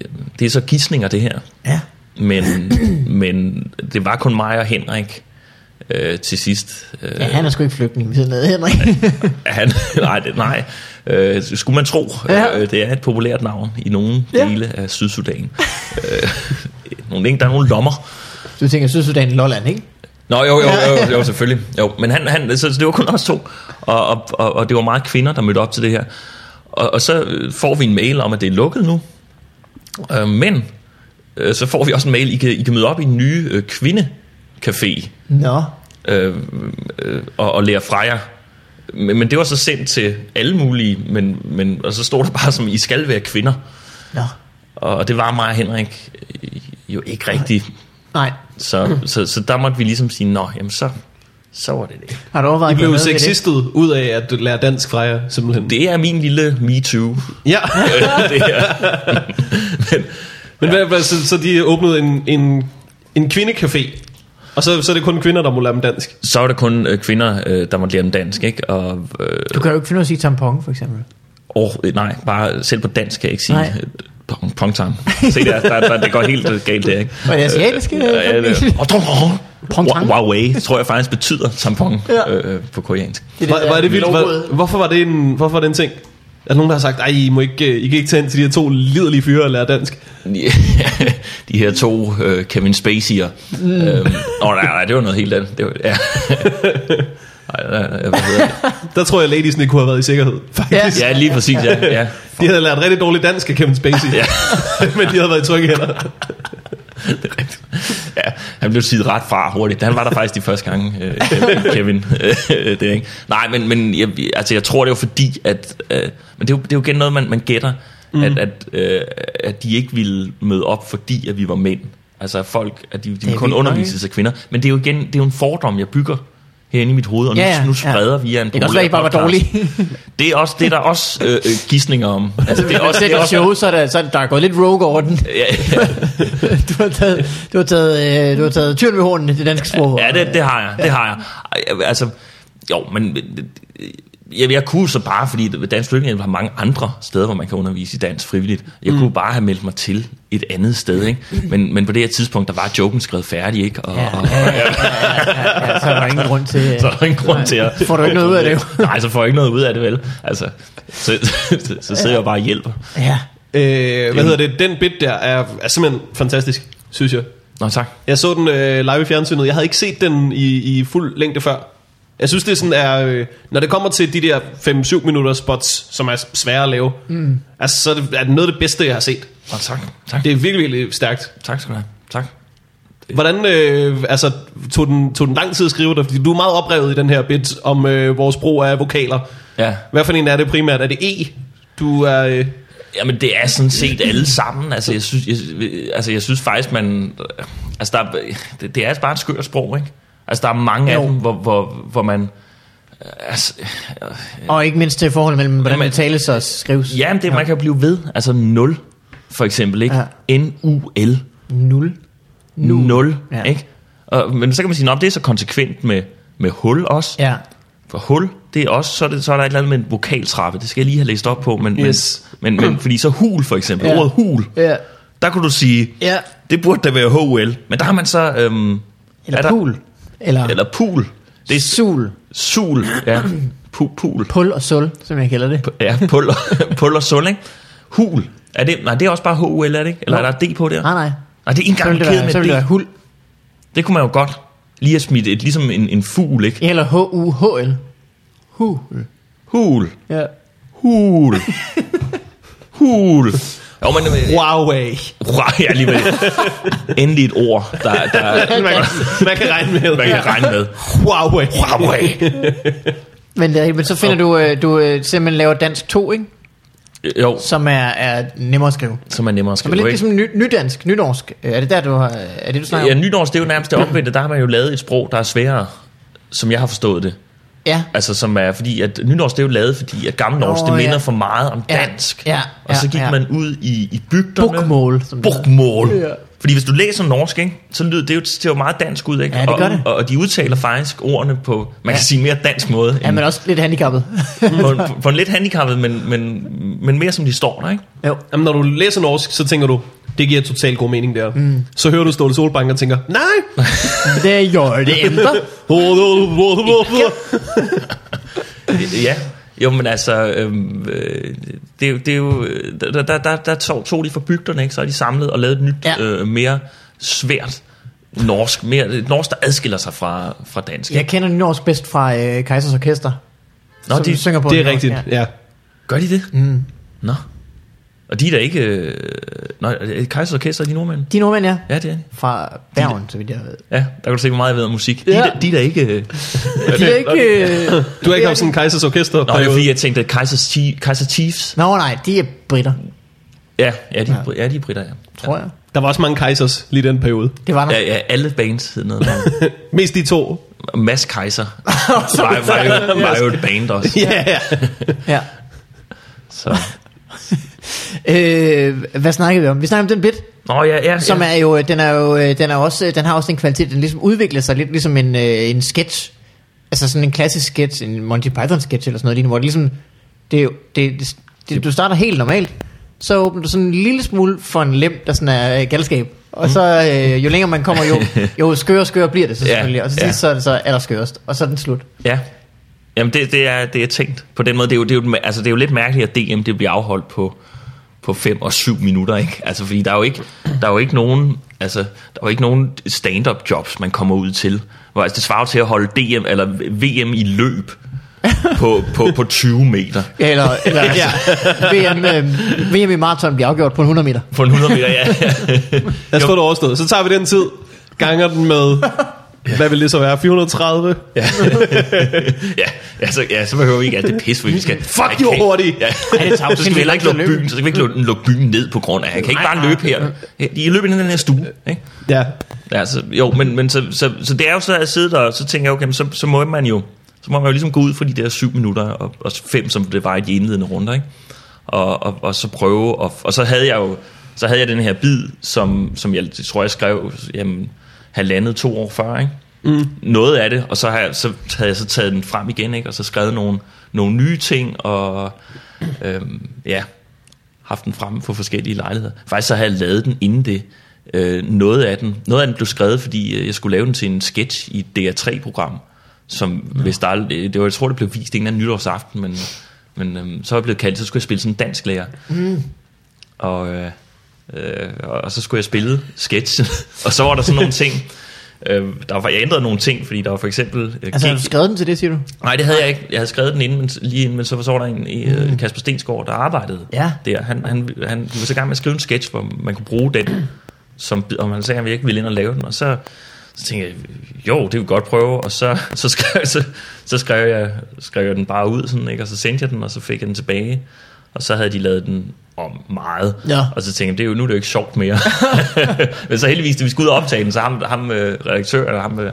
øh, det er så gidsninger det her.
Ja.
Men, men det var kun mig og Henrik øh, til sidst. Øh,
ja, han er sgu ikke flygtning ved siden af Henrik.
han, nej, det, nej. Øh, skulle man tro,
Ja.
ja. øh, det er et populært navn i nogle
Ja.
ja. dele af Sydsudan. øh, nogle, der er nogle lommer.
du tænker Sydsudan, Lolland, ikke?
Nå, jo, jo, jo, jo, jo selvfølgelig. Jo. Men han, han, så det var kun os to, og, og, og, og det var meget kvinder, der mødte op til det her. Og, og så øh, får vi en mail om, at det er lukket nu. Øh, men øh, så får vi også en mail, I kan, I kan møde op i den nye øh, kvindecafé
Nå.
øh, øh, og, og lære fra jer. Men, men det var så sendt til alle mulige, men, men, og så stod der bare som, I skal være kvinder.
Nå.
Og det var mig og Henrik øh, jo ikke rigtigt.
Nej.
Så, så, så der måtte vi ligesom sige, nå, jamen så, så var det det.
Har du overvejet
I
at gøre
blev
noget ved det?
sexistet ud af at lære dansk fra jer, simpelthen.
Det er min lille MeToo. Øh,
Ja,
det her.
men hvad, hvad, så, så de åbnede en, en, en kvindecafé, og så, så er det kun kvinder, der må lære dem dansk.
Så var der kun øh, kvinder, øh, der måtte lære dem dansk, ikke? Og, øh,
Du kan jo ikke finde ud af at sige tampon, for eksempel.
åh, øh, nej, bare selv på dansk kan jeg ikke sige
Nej.
øh, pong- pongtang. Se, der, der, der, det går helt øh, galt der, ikke?
Var det asiatiske?
Ja,
Øh,
det- Og tampon.
Tampon.
Wa- Huawei, tror jeg faktisk betyder tampon
Ja.
øh, på koreansk.
Var, var det vildt? Var, hvorfor, var det en, hvorfor var det en ting? Er der nogen, der har sagt, ej, I, må ikke, øh, I kan ikke tage ind til de her to liderlige fyre og lære dansk?
De her to øh, Kevin Spacey'er. Mm. Øhm, åh, nej, nej, det var noget helt andet. Det var, ja. Ej, nej, nej, hvad hedder det?
Der tror jeg, ladiesne kunne have været i sikkerhed, faktisk.
Ja, lige præcis, ja. ja.
De havde lært rigtig dårligt dansk af Kevin Spacey,
Ja.
men de havde været i trygge hænder.
Det er rigtigt. ja, han blev siget ret fra hurtigt. Han var der faktisk de første gange, øh, Kevin. Øh, det er ikke. Nej, men, men jeg, altså, jeg tror, det var fordi, at... Øh, men det er, jo, det er jo igen noget, man, man gætter, mm. at, at, øh, at de ikke ville møde op, fordi at vi var mænd. Altså at folk, at de, de
er
kun
vildt nok,
undervises af kvinder. Men det er jo igen, det er jo en fordom, jeg bygger herinde i mit hoved, og nu,
Ja, ja,
ja, nu
ja.
spreder vi en
Det kan også være, I bare var
populær podcast.
dårlige.
Det er også det, er der også øh, øh, gidsninger om. Altså, det er også, det er også,
show, så er der, så er der er gået lidt rogue over den.
ja, ja.
Du har taget, du har taget, øh, du har taget tyren ved hornene, det danske sprog.
Ja, det, det har jeg. Det har jeg. Ej, Altså, jo, men jeg, jeg kunne så bare, fordi Dansk Flygtningehjælp har mange andre steder, hvor man kan undervise i dansk frivilligt. Jeg mm. kunne bare have meldt mig til et andet sted, ikke? Men, men på det her tidspunkt, der var joken skrevet færdig, ikke? Og,
Ja,
og,
ja, ja, ja, ja, så er der ingen grund til... øh,
så er der ingen grund til at...
Får du ikke noget ud af det, jo.
Nej, så får jeg ikke noget ud af det, vel? Altså, så, så, så sidder jeg bare og hjælper.
Ja.
Øh, hvad hedder det? Den bit der er, er simpelthen fantastisk, synes jeg.
Nå, tak.
Jeg så den øh, live i fjernsynet. Jeg havde ikke set den i, i fuld længde før. Jeg synes, det sådan er... Øh, når det kommer til de der 5-7 minutter spots, som er svære at lave, mm. altså, så er det, er det noget af det bedste, jeg har set.
Nå, tak. Tak.
Det er virkelig, virkelig stærkt.
Tak skal du have. Tak.
Hvordan øh, altså, tog, den, tog den lang tid at skrive dig? Fordi du er meget oprevet i den her bit om øh, vores brug af vokaler.
Ja.
Hvad for en er det primært? Er det E? Du er... Øh,
Jamen det er sådan set alle sammen. Altså jeg synes, jeg, altså, jeg synes faktisk, man... Altså der, er- det, det er bare et skørt sprog, ikke? Altså der er mange
Jo.
af dem, hvor, hvor, hvor man... Altså,
Og ikke mindst til forholdet mellem, hvordan
Jamen-
det tales og skrives.
ja, men det, man kan blive ved. Altså 0, for eksempel, ikke? Ja. N-U-L.
Nul.
0,
Ja.
ja. ikke? Og, men så kan man sige, at det er så konsekvent med, med hul også.
Ja.
For hul, det er også, så er, det, så er der et eller andet med en vokaltrappe. Det skal jeg lige have læst op på. Men,
Yes.
men, men, men fordi så hul, for eksempel.
Ja.
Ja. Ordet hul.
Ja.
Der kunne du sige,
Ja.
Det burde da være HUL, men der har man så... Øhm, er
Eller
der-
pool. Eller,
Eller pool. Det er su-
sul.
sul. Ja, Pu- pool.
Pul og sul, som jeg kalder det.
Ja, pul og, pul og sul, ikke? Hul. Er det, nej, det er også bare HUL, er det ikke? Eller er der et D på der?
Nej, nej.
Nej, det er ikke
Så
engang
ville det
kæde
være, så ville
med
det
et
være
D.
hul.
Det kunne man jo godt lige have smidt et, ligesom en, en fugl, ikke?
Eller H-U-H-L. Hul.
Hul.
Ja.
Hul. Hul. Jo, men... øh,
Huawei.
Wow, ja, alligevel. Endelig et ord, der, der
Man kan, man kan regne med.
man kan regne med.
Huawei.
Huawei.
øh, Men, det er- men så finder du, øh, du øh, simpelthen laver dansk 2, ikke?
Jo,
som er, er nemmere at skrive.
som er nemmere at
Så
skrive.
man lidt
ikke?
ligesom ny, nydansk, nynorsk. Øh, Er det der, du har, er det, du snakker
Ja,
om?
nynorsk, det er jo nærmest det omvendte. Der har man jo lavet et sprog, der er sværere, som jeg har forstået det.
Ja.
Altså, som er, fordi at nynorsk, det er jo lavet, fordi at gammelnorsk,
Nå,
oh, det
ja.
minder for meget om
Ja,
dansk.
ja,
og så
ja,
gik
ja.
man ud i, i bygderne.
Bokmål. som det hedder.
Bokmål.
Ja.
Ja. Fordi hvis du læser norsk, ikke, så lyder det jo, det ser jo meget dansk ud. Ikke?
Ja, det gør
og,
det.
Og, og de udtaler faktisk ordene på, man kan
Ja.
sige, mere dansk måde.
Ja,
end-
men også lidt handicappet.
på, en, på, på en lidt handicappet, men, men, men mere som de står der, ikke?
jo.
Jamen, når du læser norsk, så tænker du, det giver totalt god mening der. Mm. Så hører du Ståle Solbank og tænker, nej!
Det gør det ændrer.
Øh, Ja. Jo, men altså, øhm, øh, det, er jo- det er jo, øh, der, der, der, der tog, tog de fra bygderne, ikke? så er de samlet og lavet et nyt,
Ja.
ja. øh, mere svært norsk, mere, et norsk, der adskiller sig fra, fra dansk.
Jeg
ikke?
kender nynorsk bedst fra øh, Kejsers Orkester.
Nå,
som
de-
synger på
Det er
nynorsk,
rigtigt,
Ja.
ja.
Gør de det?
Mm.
Nå. Og de er da ikke... Øh, nej, Kajsers Orkester, er de nordmænd?
De er nordmænd, ja.
Ja, det er de.
Fra Bergen, så vidt jeg ved.
Ja, der kan du se, hvor meget jeg ved om musik. De,
Ja.
ja. de, de er da ikke... Øh,
De er ikke... Øh...
Du har ikke haft sådan en Kajsers Orkester
Nå, det er fordi, jeg tænkte, at Kaiser, Chief, Kaiser Chiefs...
Nå, nej, de er britter,
Ja, ja, de, ja. ja, de er britter, ja.
tror jeg.
Der var også mange Kajsers lige i den periode.
Det var der.
Ja, ja, alle bands hed noget.
Mest de to.
Mads Kaiser var, var, jo, var jo et band også.
Ja, ja.
Ja.
Så.
Øh, hvad snakkede vi om? Vi snakkede om den bit,
Nå ja, ja,
som
ja.
er jo, den er jo, øh, den er også, øh, den har også en kvalitet, den ligesom udvikler sig lidt ligesom en, øh, en sketch, altså sådan en klassisk sketch, en Monty Python sketch eller sådan noget lignende, hvor det ligesom, det, er jo- det, det, det, du starter helt normalt, så åbner du sådan en lille smule for en lem, der sådan er øh, galskab, og så øh, jo længere man kommer, jo, jo skøre og skøre bliver det så
Mm. Ja,
selvfølgelig, og til sidst
ja.
så er det så allerskørest, og så er den slut.
ja. Jamen det, det, er, det er tænkt på den måde. Det er, jo, det, er jo, altså, det er jo lidt mærkeligt, at DM det bliver afholdt på, på 5 og 7 minutter. Ikke? Altså, fordi der er jo ikke, der er jo ikke nogen, altså, der er jo ikke nogen stand-up jobs, man kommer ud til. Hvor, altså, det svarer jo til at holde DM, eller VM i løb på, på, på 20 meter.
Ja, eller, eller altså, VM, øh, VM i maraton bliver afgjort på en 100 meter.
På en 100 meter, ja.
Lad os få det overstået. Så tager vi den tid, ganger den med, hvad vil det så være, 430?
Ja, altså, ja, så behøver vi ikke alt det pis, for vi skal...
Fuck,
Jeg
de var
kan-
hurtige.
Ja.
Ej, det tager jo
så skal vi heller ikke
sindssygt
lukke
langt at
byen, så skal vi ikke lukke, lukke byen ned på grund af. Jeg kan ikke bare løbe her. I løber ind i den her stue, ikke?
Ja.
Ja, så, jo, men, men så, så, så, det er jo så, at jeg sidder der, og så tænker jeg, okay, men så, så må man jo, så må man jo ligesom gå ud for de der syv minutter og, og fem, som det var i de indledende runder, ikke? Og, og, og så prøve, og, og så havde jeg jo, så havde jeg den her bid, som, som jeg tror, jeg skrev, jamen, halvandet to år før, ikke? Mm. Noget af det, og så, har jeg, så havde jeg så taget den frem igen, ikke? Og så skrevet nogle, nogle nye ting, og øhm, ja, haft den fremme for forskellige lejligheder. Faktisk så havde jeg lavet den inden det. Øh, noget, af den, noget af den blev skrevet, fordi øh, jeg skulle lave den til en sketch i et DR3-program, som ja. hvis der aldrig, det var, jeg tror, det blev vist en eller anden nytårsaften, men, men øhm, så var jeg blevet kaldt, så skulle jeg spille sådan en dansk lærer. Mm. Og, øh, øh, og, og så skulle jeg spille sketchen, og så var der sådan nogle ting, øh, der var, jeg ændrede nogle ting, fordi der var for eksempel... Øh,
Altså, har
gik-
du skrevet den til det, siger du?
Nej, det havde jeg ikke. Jeg havde skrevet den inden, men, lige inden, men så, så var der en, mm. Kasper Stensgaard, der arbejdede
Ja.
der. Han, han, han var så i gang med at skrive en sketch, hvor man kunne bruge den, som, og man sagde, at han ikke ville ind og lave den. Og så, så tænkte jeg, jo, det vil godt prøve. Og så, så, skrev, så, så skrev, jeg, skrev jeg den bare ud, sådan, ikke? og så sendte jeg den, og så fik jeg den tilbage. Og så havde de lavet den om meget.
Ja.
Og så tænkte jeg, det er jo, nu er det jo ikke sjovt mere. Men så heldigvis, da vi skulle ud og optage den, så ham, ham øh, redaktør, eller ham, øh,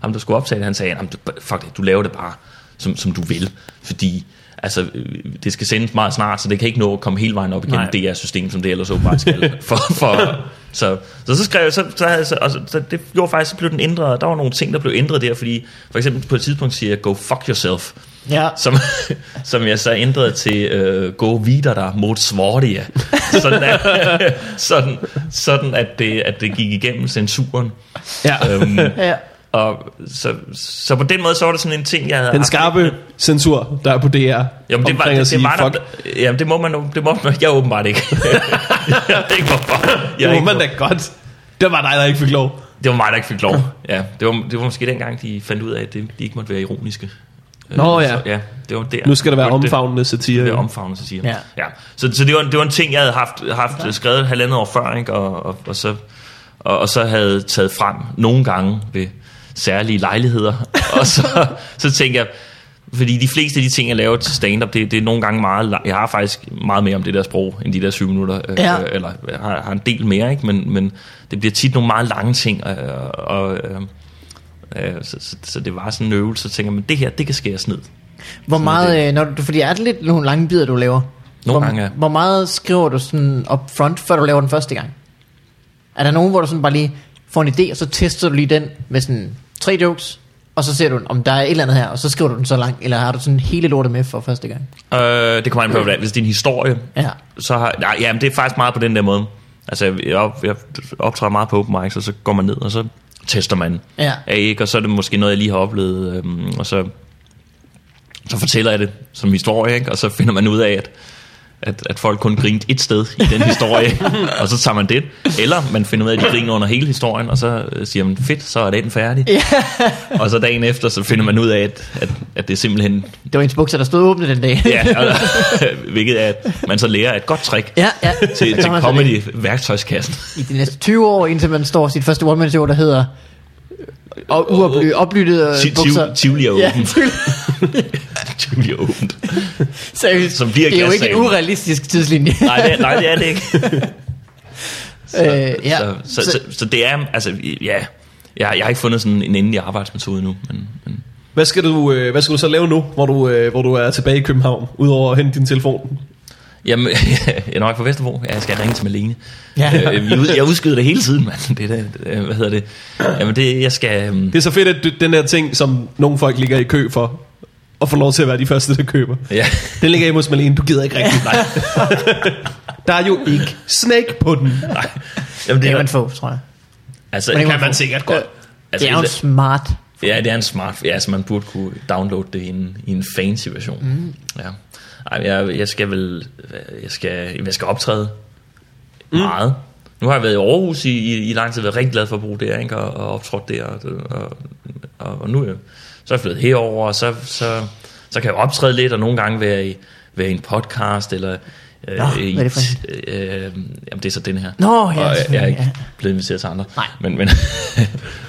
ham der skulle optage det, han sagde, "Jamen, du- fuck det, du laver det bare, som, som du vil. Fordi altså, øh, det skal sendes meget snart, så det kan ikke nå at komme hele vejen op igennem
Nej.
DR-system, som det ellers åbenbart skal. For, for, så, så, så skrev jeg, så, så, havde jeg så, og så, så det gjorde faktisk, så blev den ændret, og der var nogle ting, der blev ændret der, fordi for eksempel på et tidspunkt siger jeg, go fuck yourself
Ja.
som, som jeg så ændrede til øh, gå videre der mod Svordia. Sådan, at, sådan, sådan at, det, at det gik igennem censuren.
ja.
Øhm,
Ja.
og så, så på den måde, så var det sådan en ting, jeg havde
Den
haft-
skarpe censur, der er på DR,
Jamen, det, var,
omkring
det,
at
det,
sige,
var
fuck,
der, jamen, det må man jo- det må man, jeg åbenbart ikke. jeg ved ikke hvorfor. Jeg
det
ikke,
må man da godt. Det var dig, der ikke fik lov.
det var mig, der ikke fik lov. Ja, det, var, det var måske dengang, de fandt ud af, at det, de ikke måtte være ironiske. Øh,
Nå, ja.
Så, ja, det var der.
Nu skal der være
Det var det.
omfavnende satire.
Det er
jo.
omfavnet, så siger han.
Ja.
Ja. ja. Så, så det, var, det var en ting, jeg havde haft, haft skrevet halvandet år før, ikke? Og, og, og, så, og, og så havde taget frem nogle gange ved særlige lejligheder. og så, så tænkte jeg, Fordi de fleste af de ting, jeg laver til stand-up, det, det er nogle gange meget... la- Jeg har faktisk meget mere om det der sprog, end de der syv minutter. øh,
Ja.
Øh, eller jeg har, har en del mere, ikke? Men, men det bliver tit nogle meget lange ting. Og, og, øh, øh, så, så, så det var sådan en øvelse, så tænker man, det her, det kan skæres ned.
Hvor
det.
meget, øh, når du, fordi er det lidt nogle lange bidder, du laver?
Nogle
hvor,
gange, ja.
Hvor meget skriver du sådan up front, før du laver den første gang? Er der nogen, hvor du sådan bare lige får en idé, og så tester du lige den med sådan tre jokes, og så ser du, om der er et eller andet her, og så skriver du den så langt, eller har du sådan hele lortet med for første gang?
Øh, det kommer an på, hvordan- hvis det er en historie,
Ja.
så har, nej, jamen, det er faktisk meget på den der måde. Altså, jeg, op, jeg optræder meget på open mics, og så går man ned, og så tester man.
Ja.
Er ikke, og så er det måske noget, jeg lige har oplevet, øhm, og så, så fortæller jeg det som historie, ikke? og så finder man ud af, at, at, at folk kun grinte et sted i den historie, og så tager man det. Eller man finder ud af, at de griner under hele historien, og så øh, siger man, fedt, så er den færdig. og så dagen efter, så finder man ud af, at, at, at det er simpelthen
Det var ens bukser, der stod åbne den dag.
Ja, og, hvilket er, at man så lærer et godt trick
ja, ja.
til,
Så
til
gør man så det
comedy-værktøjskassen.
I de næste 20 år, indtil man står sit første one-man show, der hedder og uoply, oplyttede øh,
Ti-
bukser.
Tiv- Tivoli er
Ja,
åbent. Tivoli er åbent.
seriøst.
Som bliver
det er jo ikke en
gassalen.
urealistisk tidslinje.
Nej, det, er- nej, det er det ikke.
så, øh, ja.
Så, så, så, så, så det er, altså, ja... Jeg, jeg har ikke fundet sådan en endelig arbejdsmetode endnu, men, men
Hvad skal, du, øh, hvad skal du så lave nu, hvor du, øh, hvor du er tilbage i København, udover at hente din telefon?
Jamen, jeg er nok fra Vesterbro. Ja, Jeg skal ringe til Malene.
Ja.
Ja. Øh, jeg ud- jeg udskyder det hele tiden, mand. Det der, øh, hvad hedder det? Jamen, det, jeg skal... øhm,
Det er så fedt, at du- den der ting, som nogle folk ligger i kø for, og får lov til at være de første, der køber.
Ja.
Den ligger hjemme hos Malene, du gider ikke rigtigt. Nej. der er jo ikke snake på den. Nej.
Jamen,
det kan man få, tror jeg.
altså,
det kan
Man sikkert godt.
altså,
Det er jo en smart.
Ja, det er en smart... Ja, altså man burde kunne downloade det i en, i en fancy version. Mm. Ja. Ej, jeg, jeg skal vel... Jeg skal, jeg skal optræde mm. meget. Nu har jeg været i Aarhus i, i, i lang tid, været rigtig glad for at bruge det, ikke? Og, og optrådt der, og, og, og, og nu er jeg- så er jeg flyttet herover, og så, så, så kan jeg optræde lidt, og nogle gange være i, være i en podcast, eller... Øh,
Nå, hvad er det for
en? Øh, jamen, det er så den her.
Nå, ja,
og, jeg, jeg er
selvfølgelig,
ikke
ja.
blevet inviteret til andre.
Nej.
Men, men,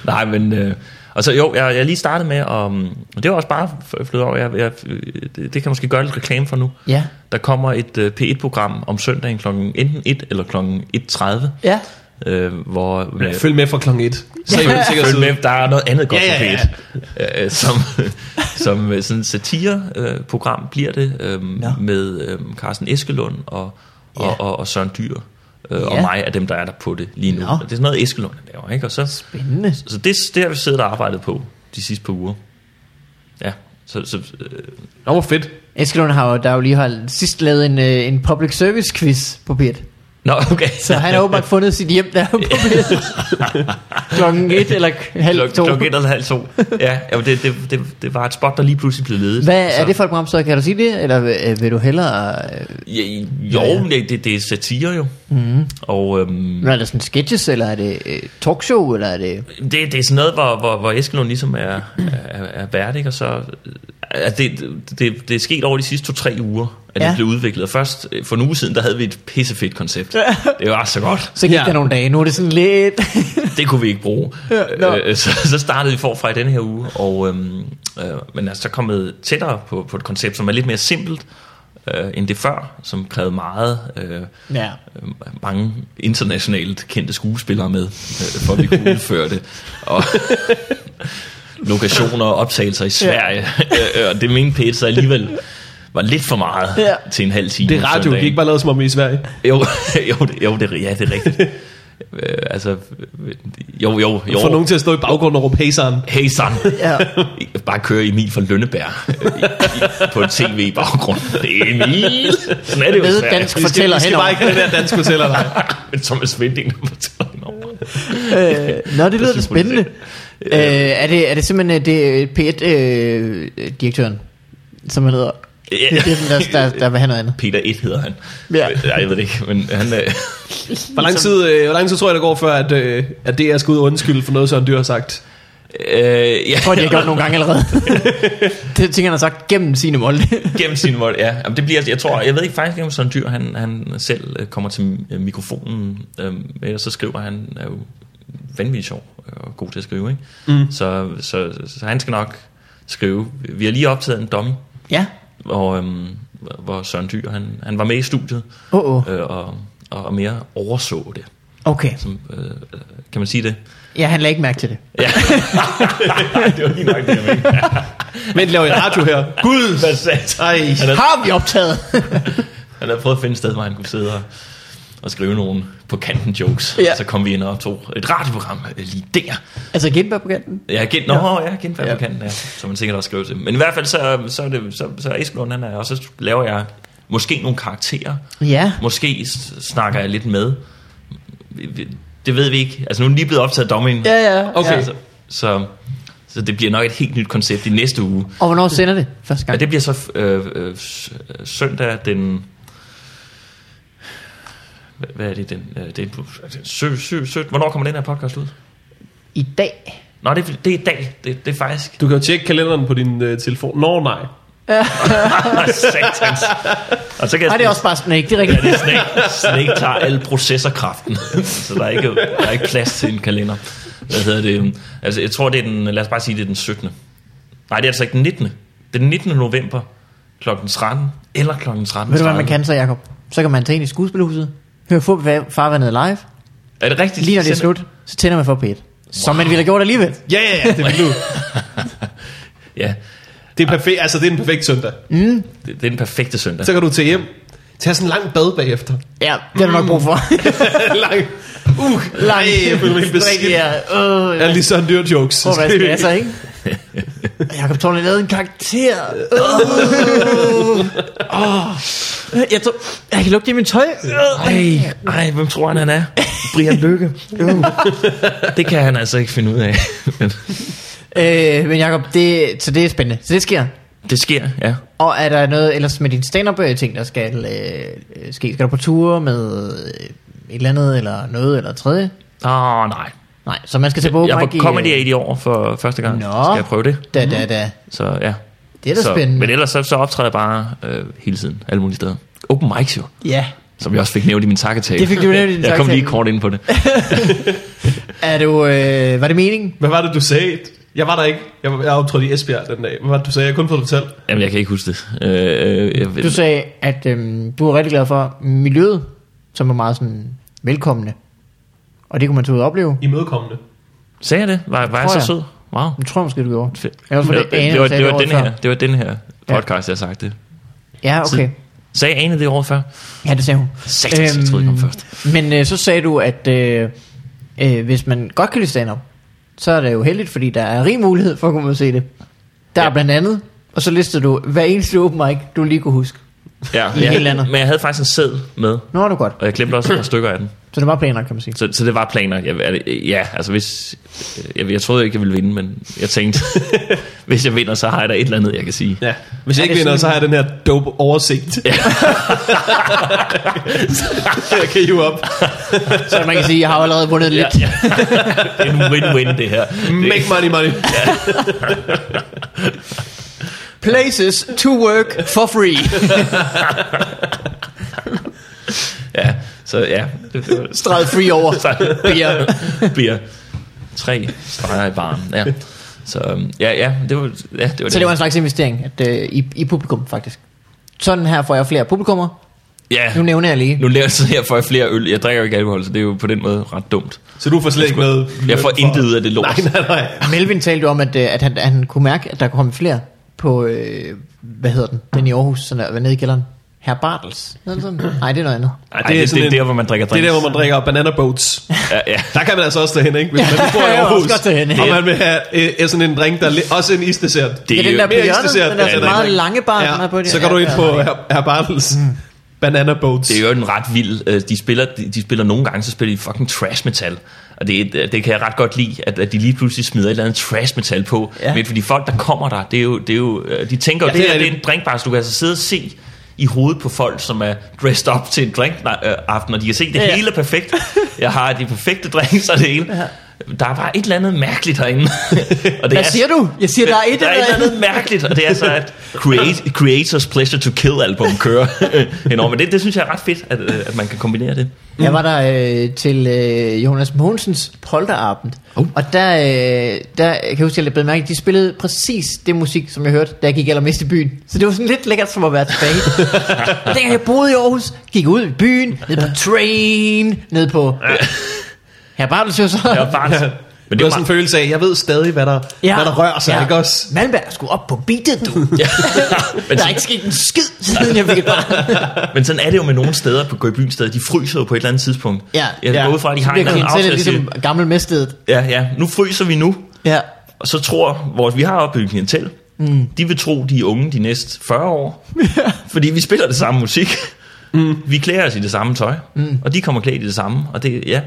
nej, men... Øh, og så jo, jeg, jeg er lige startet med, og, og det var også bare f- flyttet over, jeg, jeg, det, det kan jeg måske gøre lidt reklame for nu.
Ja.
Der kommer et øh, P1-program om søndagen klokken enten 1 eller klokken 1.30,
Ja.
øh, hvor... Øh,
Følg med fra klokken 1. Så
Ja.
er du sikkert
Følg
sidde.
med, der er noget andet godt
Ja,
på
ja,
P1. Øh, som, som øh, sådan satire-program bliver det, øh, med øh, Carsten Eskelund og, og,
Ja.
og, og Søren Dyr. Øh, og
Ja.
mig af dem, der er der på det lige nu.
Nå.
Og Det er sådan noget, Eskelund laver, ikke? Og så,
Spændende.
så det, det har vi siddet og arbejdet på de sidste par uger. Ja, så, så øh,
Nå, hvor fedt.
Eskelund har jo, der jo lige holdt, sidst lavet en, øh, en public service quiz på P1.
Nå, okay.
Så han har åbenbart fundet sit hjem der på P1. Klokken et eller halv
Klok-
to.
Klokken et og halv to. Ja, jamen det, det, det, det var et spot, der lige pludselig blev ledet.
Hvad
Så-
er det for et program, så kan du sige det? Eller øh, vil du hellere... Øh,
Ja, jo, men det, det, det er satire jo.
Mhm.
Mm. Og øhm,
er det sådan sketches, eller er det øh, talkshow, eller er det...
det, det er sådan noget, hvor, hvor, hvor Eskelund ligesom er, er, er vært, ikke? Og så, øh, altså det, det, det er sket over de sidste to-tre uger, at ja.
Ja.
det blev udviklet. Og først øh, for en uge siden, der havde vi et pissefedt koncept. Det var så godt.
Så gik
Ja.
der nogle dage, nu er det sådan lidt...
Det kunne vi ikke bruge.
nå.
Øh, så, så startede vi forfra i denne her uge, og, øhm, øh, men er så kommet tættere på, på et koncept, som er lidt mere simpelt øh, end det før, som krævede meget... Øh,
ja.
øh, mange internationalt kendte skuespillere med, øh, for at vi kunne udføre det. Og lokationer og optagelser i Sverige. Øh, og det mente Peter så alligevel var lidt for meget
Ja.
til en halv time.
Det er radio,
søndagen.
det er ikke bare lavet som om i Sverige.
Jo, jo, det, jo det, ja, det er rigtigt. Øh, altså, øh, jo, jo, jo.
Få nogen til at stå i baggrunden og råbe hey, son.
Hey son,
Ja.
bare køre Emil fra Lønneberg øh, i, i, på tv-baggrund. Det er Emil. Sådan er det jo i
Med
Sverige.
dansk
Vi skal,
fortæller
vi skal
henover.
bare ikke have den der dansk fortæller dig.
Men Thomas Vinding, der fortæller hende over.
Øh, nå, det lyder da
synes jeg,
spændende. Øh, er, det, er det simpelthen øh, det P1-direktøren, som han hedder?
Ja.
Det er den, der, der, der vil have noget andet.
Peter 1 hedder han.
Ja.
Ja. Nej, jeg ved det ikke, men han... Øh,
Hvor lang, tid, øh, hvor lang tid tror jeg, der går før, at, øh, at DR skal ud og undskylde for noget, Søren Dyr har sagt?
øh, ja,
Jeg tror, de har gjort nogle gange allerede. det tænker han har sagt gennem sine Molde.
gennem sin vold, ja. Jamen, det bliver, jeg tror, jeg ved ikke faktisk, ikke, om Søren Dyr, han, han selv øh, kommer til øh, mikrofonen, øh, ellers så skriver han, øh, er jo vanvittigt sjov og god til at skrive, ikke? Mm. Så, så, så, han skal nok... skrive. Vi har lige optaget en dummy,
Ja.
hvor, øhm, hvor Søren Dyr, han, han var med i studiet,
Åh, oh, oh.
øh, og, og mere overså det.
okay.
Som, øh, kan man sige det?
Ja, han lagde ikke mærke til det.
Ja. det var lige nok det, jeg mente.
Men laver jeg radio her?
Gud, hvad sat.
Ej.
Han er-
Har vi optaget?
Han havde prøvet at finde et sted, hvor han kunne sidde og, og skrive nogle på kanten jokes.
Ja.
Ja. Så kom vi ind og tog et radioprogram øh, lige der.
altså Gindberg på kanten?
Ja, gen, nå, ja. ja, genfærd
Ja.
på kanten, ja. Som man sikkert også skrev til. Men i hvert fald, så, så, er det, så, så er Eskelund, han er, og så laver jeg måske nogle karakterer.
Ja.
Måske s- snakker jeg lidt med. Vi- vi- Det ved vi ikke. Altså, nu er den lige blevet optaget dommen.
Ja, ja.
Okay.
Ja.
Så, så, så det bliver nok et helt nyt koncept i næste uge.
Og hvornår sender det første
Ja,
gang?
det bliver så øh, øh, s- øh, søndag den... Hvad- Hvad er det? Den, øh, det er på, altså, sø, sø, sø, hvornår kommer den her podcast ud?
I dag.
Nå, det, er- det er i dag. Det, det er faktisk...
Du kan jo tjekke kalenderen på din øh, telefon. Nå, nej.
Satans. Og så kan jeg
Nej, det er også bare sådan ikke. Det er
Ja,
rigtigt.
det er Snake. Snake tager al processorkraften. så der er, ikke, der er ikke plads til en kalender. Hvad hedder det? Altså, jeg tror, det er den... Lad os bare sige, det er den 17. Nej, det er altså ikke den 19. Det er den 19. november kl. 13 eller kl. 13.30.
Ved du, hvad man kan så, Jacob? Så kan man tage ind i skuespilhuset, høre få farvandet live.
Er det rigtigt?
Lige når det er
Sender-
slut, så tænder man for P1. Som man ville have gjort alligevel.
Ja, ja, ja, det vil du.
Ja,
Det er, perfekt, altså, det er en perfekt søndag.
det, det er den perfekte søndag.
Så kan du tage hjem, tage sådan en lang bad bagefter.
Ja, det har du nok brug for.
lang, uh, lang. Ej, jeg føler mig helt
Strik,
beskidt.
ja. Øh,
Jeg er lige sådan dyr jokes.
Prøv at vaske altså, ikke? Jakob Torne lavede en karakter. Øh. Åh. Åh. Jeg, tror, jeg kan lugte det i min tøj.
Ej, ej, hvem tror han, han er? Brian Lykke. Øh. det kan han altså ikke finde ud af. Men
Øh, men Jakob, det, så det er spændende. Så det sker.
det sker, ja.
Og er der noget ellers med din stand-up øh, ting, der skal øh, øh, ske? Skal du på ture med øh, et eller andet, eller noget, eller tredje?
Åh, oh, nej.
Nej, så man skal til Bogen
Jeg var comedy aid i år for første gang.
øh, Nå.
Så Skal jeg prøve det?
Da, da, da.
Så ja.
Det er da
så,
spændende.
Men ellers så, så optræder jeg bare øh, hele tiden, alle mulige steder. Open mics jo,
Ja.
som jeg også fik nævnt i min takketale.
Det fik du nævnt i din
Jeg kom
takketale.
lige kort ind på det.
Er du, øh, var det meningen?
Hvad var det, du sagde? Jeg var der ikke. Jeg, var- jeg optrådte i Esbjerg den dag. Hvad var det, du sagde? Jeg har kun fået det fortalt.
Jamen, jeg kan ikke huske det. Øh, øh, jeg,
Du sagde, at øh, du er rigtig glad for miljøet, som er meget sådan velkommende. Og det kunne man tage ud og opleve.
I mødekommende.
sagde jeg det? Var, var jeg så
Tror jeg.
sød? Wow.
Jeg tror måske, du gjorde.
Fedt.
Jeg var for det, Ane,
det, var,
sagde
det, var
året
den
før.
her, det var den her
Ja.
podcast, jeg har sagt det.
Ja, okay.
Sagde Ane det året før?
Ja, det sagde hun. Øhm,
Satans, jeg troede, I kom først.
Men øh, så sagde du, at øh, øh, hvis man godt kan lide stand-up, så er det jo heldigt, fordi der er rig mulighed for at kunne ud og se det. Der ja. er
Ja.
blandt andet, og så listede du hver eneste open mic, du lige kunne huske.
Ja,
I
jeg,
hele landet.
Men jeg havde faktisk en sæd med,
Nu er du godt.
og jeg glemte også et par stykker af den.
Så det var planer, kan man sige.
Så, så det var planer. Jeg, jeg- ja, altså hvis... Jeg, jeg troede ikke, jeg ville vinde, men jeg tænkte, hvis jeg vinder, så har jeg da et eller andet, jeg kan sige.
Ja. Hvis jeg
Ja,
ikke
det er
vinder,
sådan-
så har jeg den her dope oversigt. jeg kan hive op.
Så man kan sige, jeg har jo allerede vundet lidt.
ja. Det er en win-win, det her.
Make money, money.
Places to work for free.
Ja, så ja. Det, det var,
Streget free over.
så
Ja.
bliver tre streger i baren. Ja. Så øhm, ja, ja, det var, ja, det var
Så det var en slags investering at, øh, i, i publikum, faktisk. Sådan her får jeg flere publikummer.
Ja.
Nu nævner jeg lige.
Nu laver jeg så her, får jeg flere øl. Jeg drikker jo ikke alkohol, så det er jo på den måde ret dumt.
Så du får slet ikke noget...
Jeg får intet ud af det lort.
Nej, nej, nej.
Melvin talte jo om, at, øh, at han, han kunne mærke, at der kom flere på, øh, hvad hedder den, den i Aarhus, sådan der, nede i kælderen. Herr Bartels? Noget sådan. Nej, det er noget andet.
Ej,
Ej, det- det er der, hvor man drikker
Det er der,
drinks.
hvor man drikker banana boats.
Ja, ja.
Der kan man altså også derhen, ikke? Hvis
Ja,
man bor i
jeg vil også
Aarhus,
godt derhen, ikke?
og man vil have øh, sådan en drink, der er li- også en isdessert.
Det
Ja,
er
den der
jo
på
mere
hjørnet,
interesseret,
den der
ja,
sådan
det er
meget
rigtigt.
lange bar, den er på.
Ja,
det-
så går du
ja,
ind
ja.
på her, her Bartels banana boats.
Mm. Det er jo en ret vild... øh, De spiller, de, de spiller nogle gange, så spiller de fucking trash metal. Og det, er- det kan jeg ret godt lide, at, at de lige pludselig smider et eller andet trash metal på.
Ja.
Ja. Men fordi folk, der kommer der, det er jo, det er jo, øh, de tænker jo,
Ja,
ja, det, her,
det er
det er
det.
en drinkbar, så du kan altså sidde og se i hovedet på folk, som er dressed up til en drink øh, aften, og de kan se, det
Ja.
ja. hele er perfekt. Jeg har de perfekte drinks og det hele. der er bare et eller andet mærkeligt herinde. og det
Hvad siger du? Jeg siger, der er et
der er et
eller
eller
andet.
andet mærkeligt, og det er så, at create, Creators Pleasure to Kill album kører enormt. Men det, det synes jeg er ret fedt, at, øh, at man kan kombinere det.
Jeg var der øh, til øh, Jonas Mogensens Polterabend,
Oh.
uh. og der, øh, der kan jeg huske, at jeg blev mærke, at de spillede præcis det musik, som jeg hørte, da jeg gik allermest i byen. Så det var sådan lidt lækkert som at være tilbage. Dengang jeg boede i Aarhus, gik jeg ud i byen, ned på train, ned på... Her bare du så.
Jeg er bare, men
Men
det
det
er
var
jo
sådan en
meget,
følelse af, jeg ved stadig, hvad der, ja. hvad der rører sig, ja. ikke også?
Malmberg skulle op på beatet, du.
ja. men,
Der er
sådan,
ikke sket en skid, siden jeg fik et barn.
men sådan er det jo med nogle steder på Gå i byen steder. De fryser jo på et eller andet tidspunkt.
Ja.
jeg går ud fra, at de
Så
har en
bliver
eller anden
klientellet
aftale. Ligesom...
ligesom gammel mestedet.
Ja, ja, nu fryser vi nu.
Ja.
Og så tror vores, vi har opbygget klientel, mm. de vil tro, de er unge de næste 40 år. fordi vi spiller det samme musik. Mm. Vi klæder os i det samme tøj. Mm. Og de kommer klædt i det samme. Og det, ja,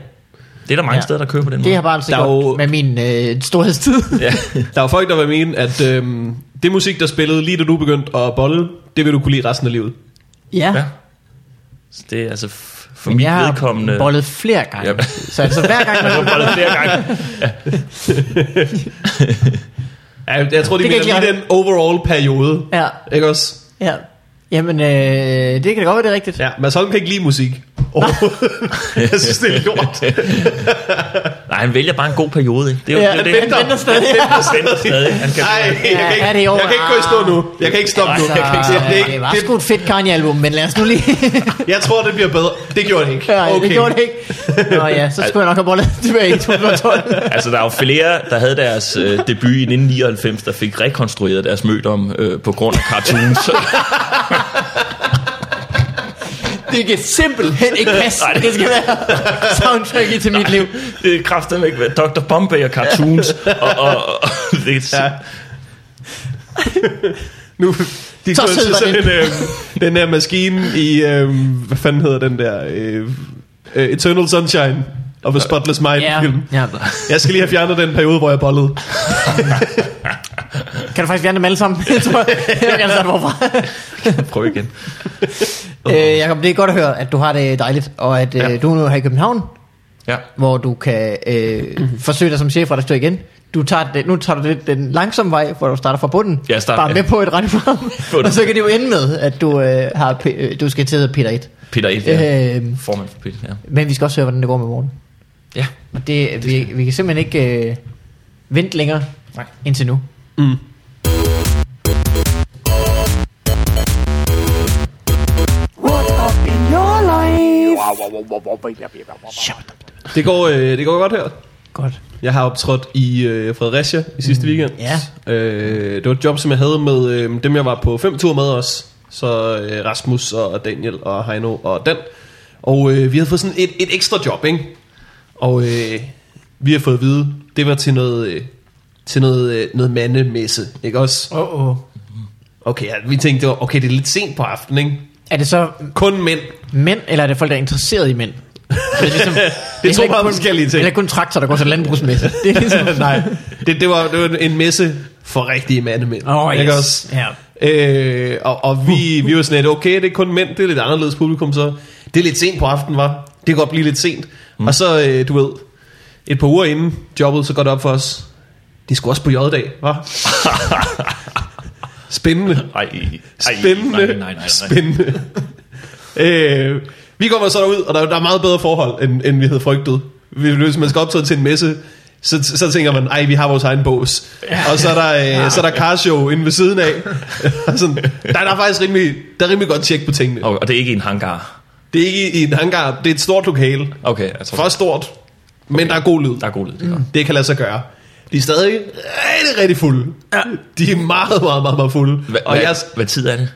det er der mange
Ja.
ja. steder, der kører på den måde.
Det har bare altså
Der er
gjort
jo-
med min øh, storhedstid.
Ja.
Der er jo folk, der vil mene, at øhm, det musik, der spillede lige da du begyndte at bolle, det vil du kunne lide resten af livet.
ja.
ja. Så det er altså f- for mit
jeg
vedkommende...
har bollet flere gange.
Ja.
Så altså hver gang,
Jeg
man
har bollet flere gange.
Ja, jeg, jeg tror, de
Det
det
kan
mener
jeg ikke
lige den overall periode.
Ja,
Ikke også?
ja. Jamen, øh, det kan da godt være, det er rigtigt.
Ja, Mads Holm kan ikke lide musik. Overhovedet. jeg synes, det er lort.
Nej, han vælger bare en god periode. ikke? Det er jo
Ja,
det, er jo
han venter stadig.
Han venter stadig. Han kan,
Nej, jeg,
Ja,
kan
er
ikke,
det i år?
jeg kan ikke gå i stå nu. Jeg kan ikke stoppe nu.
Altså,
Jeg, kan ikke, jeg, det, er
det
ikke,
var
det,
sgu et fedt Kanye-album, men lad os nu lige...
jeg tror, det bliver bedre. Det gjorde det ikke.
ja, okay. det gjorde det ikke. Nå ja, så skulle jeg nok have bollet tilbage i 2012.
altså, der er jo flere, der havde deres øh, debut i 1999, der fik rekonstrueret deres mødom øh, på grund af cartoons.
Det kan simpelthen ikke passe.
Nej, det-
Det skal være soundtracket til mit liv.
det er kraftedeme ikke hvad- Dr. Bombay og cartoons. og, og, og, og det er, ja.
Ja. nu, de
Så
så
sød
til
var
sådan
den.
en, øh, den der maskine i, øh, hvad fanden hedder den der, øh, øh, Eternal Sunshine of a Spotless Mind
Ja,
film.
ja.
Jeg skal lige have fjernet den periode, hvor jeg bollede.
Kan du faktisk fjerne dem alle sammen? Jeg tror, jeg altså, vil gerne starte forfra.
Prøv igen.
Øh, Jacob, det er godt at høre, at du har det dejligt, og at øh,
Ja.
du nu er her i København,
Ja.
hvor du kan øh, forsøge dig som chefredaktør igen. Du tager det, nu tager du lidt den langsomme vej, hvor du starter fra bunden.
Jeg starter-
Bare med på et radioprogram.
Bunden.
og så kan det jo ende med, at du, øh, har, P- øh, du skal til at hedde Peter 1.
Peter 1, ja.
Ja.
øh, formand for Peter, ja.
Men vi skal også høre, hvordan det går med morgen.
ja.
Og det, vi, vi kan simpelthen ikke øh, vente længere
Nej.
indtil nu.
Mm.
What up in your life?
Det går, øh, det går godt her.
Godt.
Jeg har optrådt i øh, Fredericia i sidste mm, weekend.
ja.
Øh, det var et job, som jeg havde med øh, dem, jeg var på fem tur med os. Så øh, Rasmus og Daniel og Heino og Dan. Og øh, vi havde fået sådan et, et ekstra job, ikke? Og øh, vi har fået at vide, det var til noget, øh, til noget, øh, noget mandemesse, ikke også?
Åh, oh, oh.
Okay, ja, vi tænkte, det var- okay, det er lidt sent på aftenen, ikke?
Er det så
Kun mænd.
mænd, eller er det folk, der er interesseret i mænd? Det er, ligesom, det
to
heller ikke
meget
kun-
forskellige ting.
Det er heller ikke kun traktor, der går til landbrugsmæssigt. Det er ligesom...
Nej, det, det, var, det var en messe for rigtige mandemænd.
Åh, oh,
ikke
yes. Ja.
Øh, og, og vi, vi var sådan lidt, okay, det er kun mænd, det er lidt anderledes publikum, så det er lidt sent på aftenen, var. Det kan godt blive lidt sent. Mm. Og så, øh, du ved, et par uger inden jobbet, så går det op for os, det skulle også på J-dag, var. Spændende.
Ej, ej,
Spændende.
Nej, nej, nej, nej.
Spændende. øh, vi kommer så derud, og der, der er meget bedre forhold, end, end vi havde frygtet. Vi- Hvis man skal optræde til en messe, så, så tænker man, ej, vi har vores egen bås. Og så er der, øh, så er der carshow inde ved siden af. Og sådan, der, der er faktisk rimelig, der er rimelig godt tjek på tingene.
Og, og det er ikke en hangar.
Det er ikke i, i en hangar, det er et stort lokale.
Okay, jeg tror,
For stort, men der er god lyd.
der er god lyd. Det er godt.
Det kan lade sig gøre. De er stadig rigtig, rigtig fulde. Ja. De er meget, meget, meget, meget fulde.
Hva,
og
hvad,
jeg,
hvad tid er det?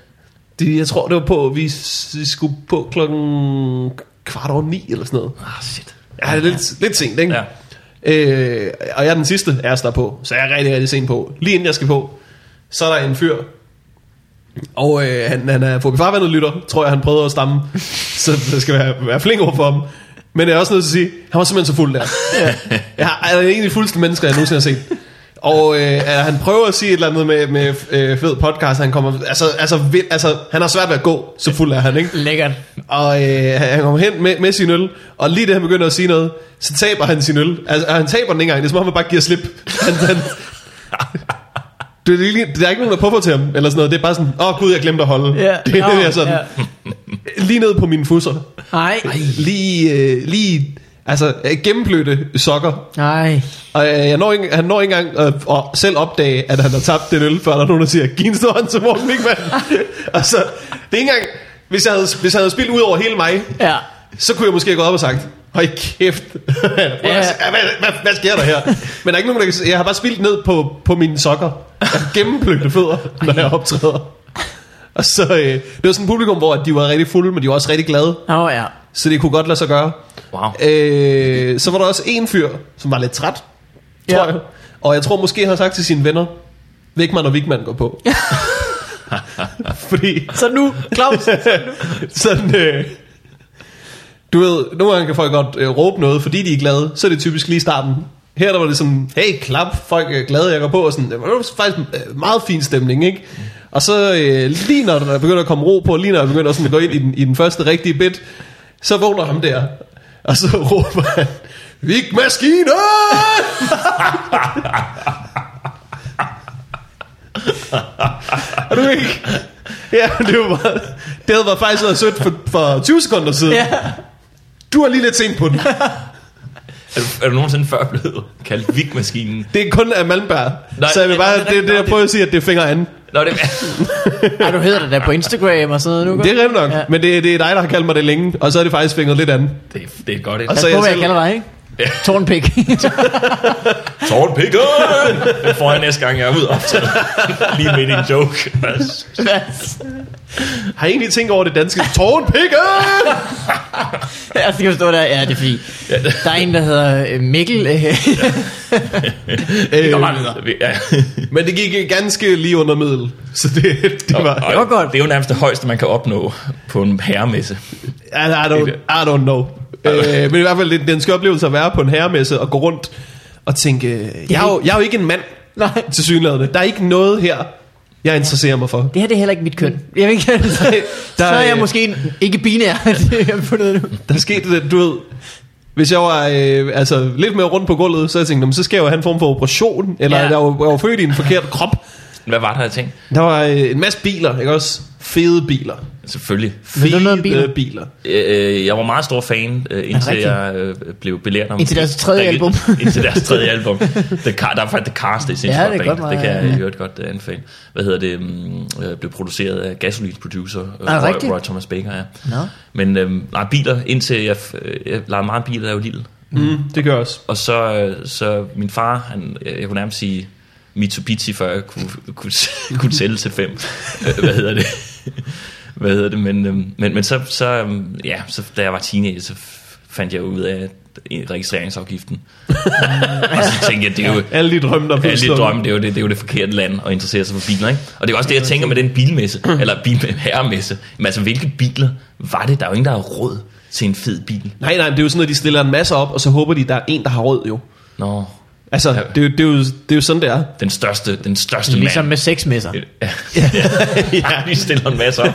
Det, jeg tror, det var på, vi s- skulle på klokken kvart over ni eller sådan noget.
Ah, shit.
Ja, det er lidt, lidt sent, ikke?
Ja.
Øh, og jeg er den sidste af os, der er på, så jeg er rigtig, rigtig sent på. Lige inden jeg skal på, så er der en fyr, og øh, han, han er Fobi Farvandet lytter, tror jeg, han prøvede at stamme, så jeg skal være, være flink over for ham. Men jeg er også nødt til at sige, han var simpelthen så fuld der. Ja. Jeg har, han er en af de fuldeste mennesker, jeg nogensinde har set. Og øh, øh, han prøver at sige et eller andet med, med øh, fed podcast, han kommer, altså, altså, vild, altså, han har svært ved at gå, så fuld er han, ikke?
Lækkert.
Og øh, han kommer hen med, med sin øl, og lige da han begynder at sige noget, så taber han sin øl. Altså, og han taber den ikke engang, det er som om, han bare giver slip. Han, han, det er lige, der er ikke nogen, der puffer til ham, eller sådan noget. Det er bare sådan, åh oh, gud, jeg glemte at holde.
Ja.
det, det er sådan,
Ja.
lige ned på mine fusser.
Nej.
Lige, øh, lige, altså øh, gennemblødte sokker,
Nej.
og øh, jeg når ikke, han når ikke engang øh, at selv opdage, at han har tabt den øl, før der er nogen, der siger, giv en stor hånd til Morten Wigman. altså, det er ikke engang, hvis jeg havde, hvis jeg havde spildt ud over hele mig,
Ja.
så kunne jeg måske gå op og sagt, høj kæft, Prøv at
Ja.
se, hvad, hvad, hvad, sker der her? Men der er ikke nogen, der kan se- jeg har bare spildt ned på, på mine sokker, Jeg har gennempløgte fødder, når jeg optræder. Og så, øh, det var sådan et publikum, hvor de var rigtig fulde, men de var også rigtig glade.
Nå ja.
Så det kunne godt lade sig gøre.
Wow.
Øh, så var der også en fyr, som var lidt træt, tror
Ja.
ja. jeg. Og jeg tror måske, han har sagt til sine venner, Vigman og Vigman går på. Fordi
Så nu, Claus.
sådan... Øh, du ved, nogle gange kan folk godt øh, råbe noget, fordi de er glade. Så er det typisk lige i starten. Her der var det sådan, hey, klap, folk er glade, jeg går på. Og sådan, det var faktisk øh, meget fin stemning, ikke? Og så øh, lige når der begynder at komme ro på, lige når jeg begynder sådan at gå ind i den, i den første rigtige bit, så vågner ham der. Og så råber han, Vig maskiner! er du ikke? Ja, men det, var bare, det havde været faktisk været sødt for, for 20 sekunder siden.
ja.
Du er lige lidt sent på den.
Er du, er du nogensinde før blevet kaldt vigmaskinen?
Det er kun af Malmberg.
Nej,
så jeg vil
nej,
bare,
nej,
det er det,
nej,
jeg
det-
prøver at sige, at det er fingre anden.
Nå, det
Ej, du hedder det da på Instagram og sådan noget nu.
Det er rigtigt nok,
Ja.
ja. men det, det er dig, der har kaldt mig det længe, og så er det faktisk fingret lidt andet.
det, er- det er godt et.
Og
Pas
så er
på,
jeg
hvad jeg
selv-
kalder dig, ikke? Tornpik.
Tårnpikken! Det får jeg næste gang, jeg er ude og optage. Lige midt i en joke.
Øh. Har I egentlig tænkt over det danske tårnpikke?
jeg skal forstå der. Ja, det er fordi. Der er en, der hedder øh, Mikkel. øh,
øh,
Vi- ja.
men det gik ganske lige under middel, så det, det var...
Og
var godt.
Det er jo nærmest det højeste, man kan opnå på en herremesse.
I don't, I don't know. Øh, men i hvert fald, det er en skør oplevelse at være på en herremesse og gå rundt og tænke, øh, jeg er jo, jeg er jo ikke en mand
Nej.
til synligheden. Der er ikke noget her, jeg interesserer mig for.
Det her det er heller ikke mit køn. Jeg ved ikke, altså,
Der
så er
er,
jeg
øh,
måske en, ikke binær. det har jeg fundet nu.
Der skete det, du ved... Hvis jeg var øh, altså, lidt mere rundt på gulvet, så jeg tænkte, "Nå, men så skal jeg jo have en form for operation, eller
Ja.
ja. jeg, var, jeg var født i en forkert krop.
Hvad var det, jeg tænkte?
Der var øh, en masse biler, ikke også? Fede biler.
Selvfølgelig.
Ved
Fede
du noget om biler?
biler.
Øh, jeg var meget stor fan, øh, indtil
rigtigt?
jeg øh, blev belært om...
Indtil deres tredje
der-
album.
indtil deres tredje album. The Car, der er faktisk The Cars, det er sindssygt
Ja,
ja,
det er
det,
godt
godt band. det kan
meget,
jeg
ja.
i øvrigt godt øh, anbefale. Hvad hedder det? mm, Øh, blev produceret af Gasolins producer, øh,
Er det
Roy,
rigtigt?
Roy Thomas Baker, ja.
Nå.
Men øh, nej, biler, indtil jeg, f- øh, jeg lejede meget biler, da jeg var lille.
Mm, det gør jeg også.
Og så, øh, så min far, han, øh, jeg jeg kunne nærmest sige Mitsubishi, før jeg kunne, kunne, kunne tælle til fem. Øh, Hvad hedder det? Hvad hedder det? Men, øhm, men, men så, så, øhm, ja, så da jeg var teenager, så f- fandt jeg ud af at registreringsafgiften. og så tænkte jeg, det er jo,
Alle de drømme, der blev
alle de
slukket.
drømme, det er, jo det, det er jo det forkerte land at interessere sig for biler, ikke? Og det er også det, jeg tænker med den bilmesse, eller bilherremesse. Men altså, hvilke biler var det? Der er jo ingen, der har råd til en fed bil.
Nej, nej, men det er jo sådan, at de stiller en masse op, og så håber de, der er en, der har rød jo.
Nå,
Altså,
Ja.
det, er jo, det, er jo, det er jo sådan, det er.
den største, den største
Ligesom
mand.
med sexmesser.
ja, de stiller en masse op,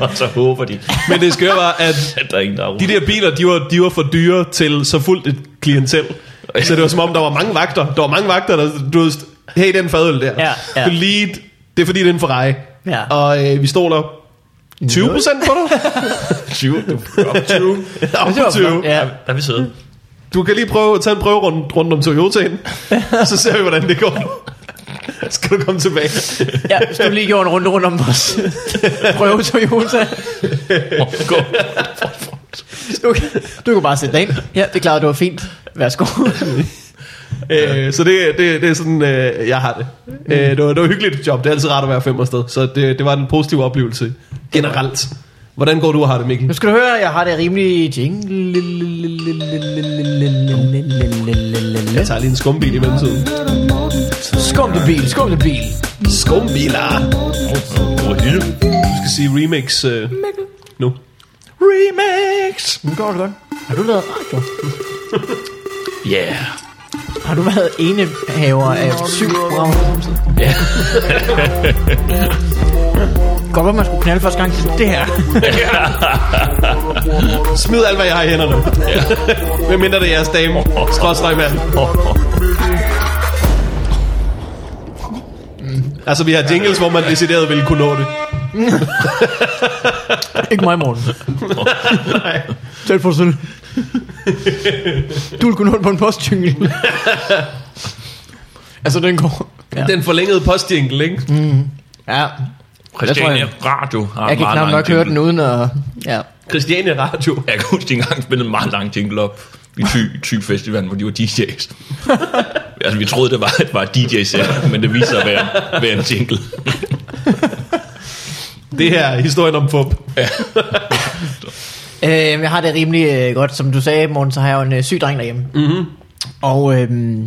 og så håber de,
Men det skøre var, at
at der er ingen, der er
de der biler, de var, de var for dyre til så fuldt et klientel. Så det var som om, der var mange vagter. Der var mange vagter, der du ved, hey, den fadøl der.
Ja, ja.
Du Lige, det er fordi, det er en Ferrari.
Ja.
Og øh, vi stoler 20 procent på dig.
20. Du er op 20.
Op
Det var
på 20.
flot, ja.
Der er vi søde.
Du kan lige prøve at tage en prøve rundt, rundt om Toyotaen. så ser vi, hvordan det går. Skal du komme tilbage?
Ja, hvis du lige gjorde en runde rundt om vores prøve Toyota.
Åh, gå.
Du, kan- du kunne bare sætte dig ind. Ja, det klarede du var fint. Værsgo.
Øh, så det, det, det er sådan, øh, jeg har det. Øh, det, var, det var hyggeligt job. Det er altid rart at være fem sted. Så det, det var en positiv oplevelse generelt. Hvordan går du og har det,
Nu
Mikkel?
skal du høre, jeg har det rimelig jingle.
Jeg tager lige en skumbil i mellemtiden.
Altså, Skum det bil, skum det bil.
Skumbiler!
Åh, hvor hylde.
Du skal sige remix øh, nu.
Remix.
Nu går det godt. Har du lavet radio?
Yeah.
Har du været enehaver af syv programmer?
Ja.
Godt, hvor man skulle knalde første gang. Det her.
Smid alt, hvad jeg har i hænderne. Ja. Hvem mindre det er jeres dame? Skrådstræk mand. Altså, vi har jingles, hvor man decideret ville kunne nå det.
Ikke mig, Morten. Tæt på selv. Du ville kunne nå det på en postjyngle. altså, den går... Ja.
Den forlængede postjingle, ikke?
ja.
Christiania
jeg-
Radio har
Jeg
en
kan
meget
knap
lang
nok høre
jingle.
den uden at... Ja.
Christiania Radio.
Jeg kan huske, at de engang spillede en meget lang jingle op i Thy, Thy Festivalen, hvor de var DJ's. altså, vi troede, det var, det var et DJ-sæt, men det viser sig at være, at være en jingle.
Det her er historien om fup.
Øh, jeg har det rimelig øh, godt. Som du sagde, Morten, så har jeg jo en øh, syg dreng derhjemme.
Mm.
Mm-hmm. Og øh,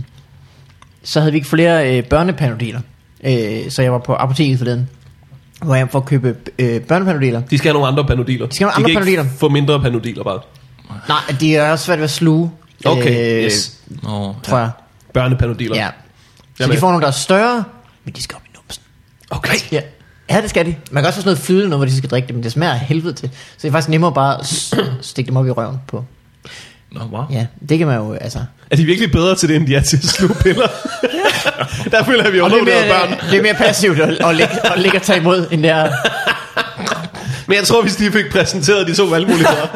så havde vi ikke flere øh, børnepanodiler. Øh, så jeg var på apoteket forleden, hvor jeg for at købe øh, børnepanodiler.
De skal have nogle andre panodiler. De
skal have nogle
de
andre
kan
panodiler.
Ikke få mindre panodiler bare.
Nej, de er også svært ved at sluge. Øh,
Okay, yes.
Nå,
Tror jeg.
Børnepanodiler.
Ja. Så
Jamen.
de får nogle, der er større, men de skal op i numsen.
Okay.
Ja. Ja, det skal de. Man kan også få sådan noget flydende noget, hvor de skal drikke det, men det smager af helvede til. Så det er faktisk nemmere bare at s- stikke dem op i røven på.
Nå, wow.
Ja, det kan man jo, altså.
Er de virkelig bedre til det, end de er til at sluge piller? Der føler jeg, at vi
Og det, er
undervurderer børn.
mere, det er mere passivt at, at, ligge, at ligge og tage imod, end det er...
Men jeg tror, hvis de fik præsenteret de to valgmuligheder.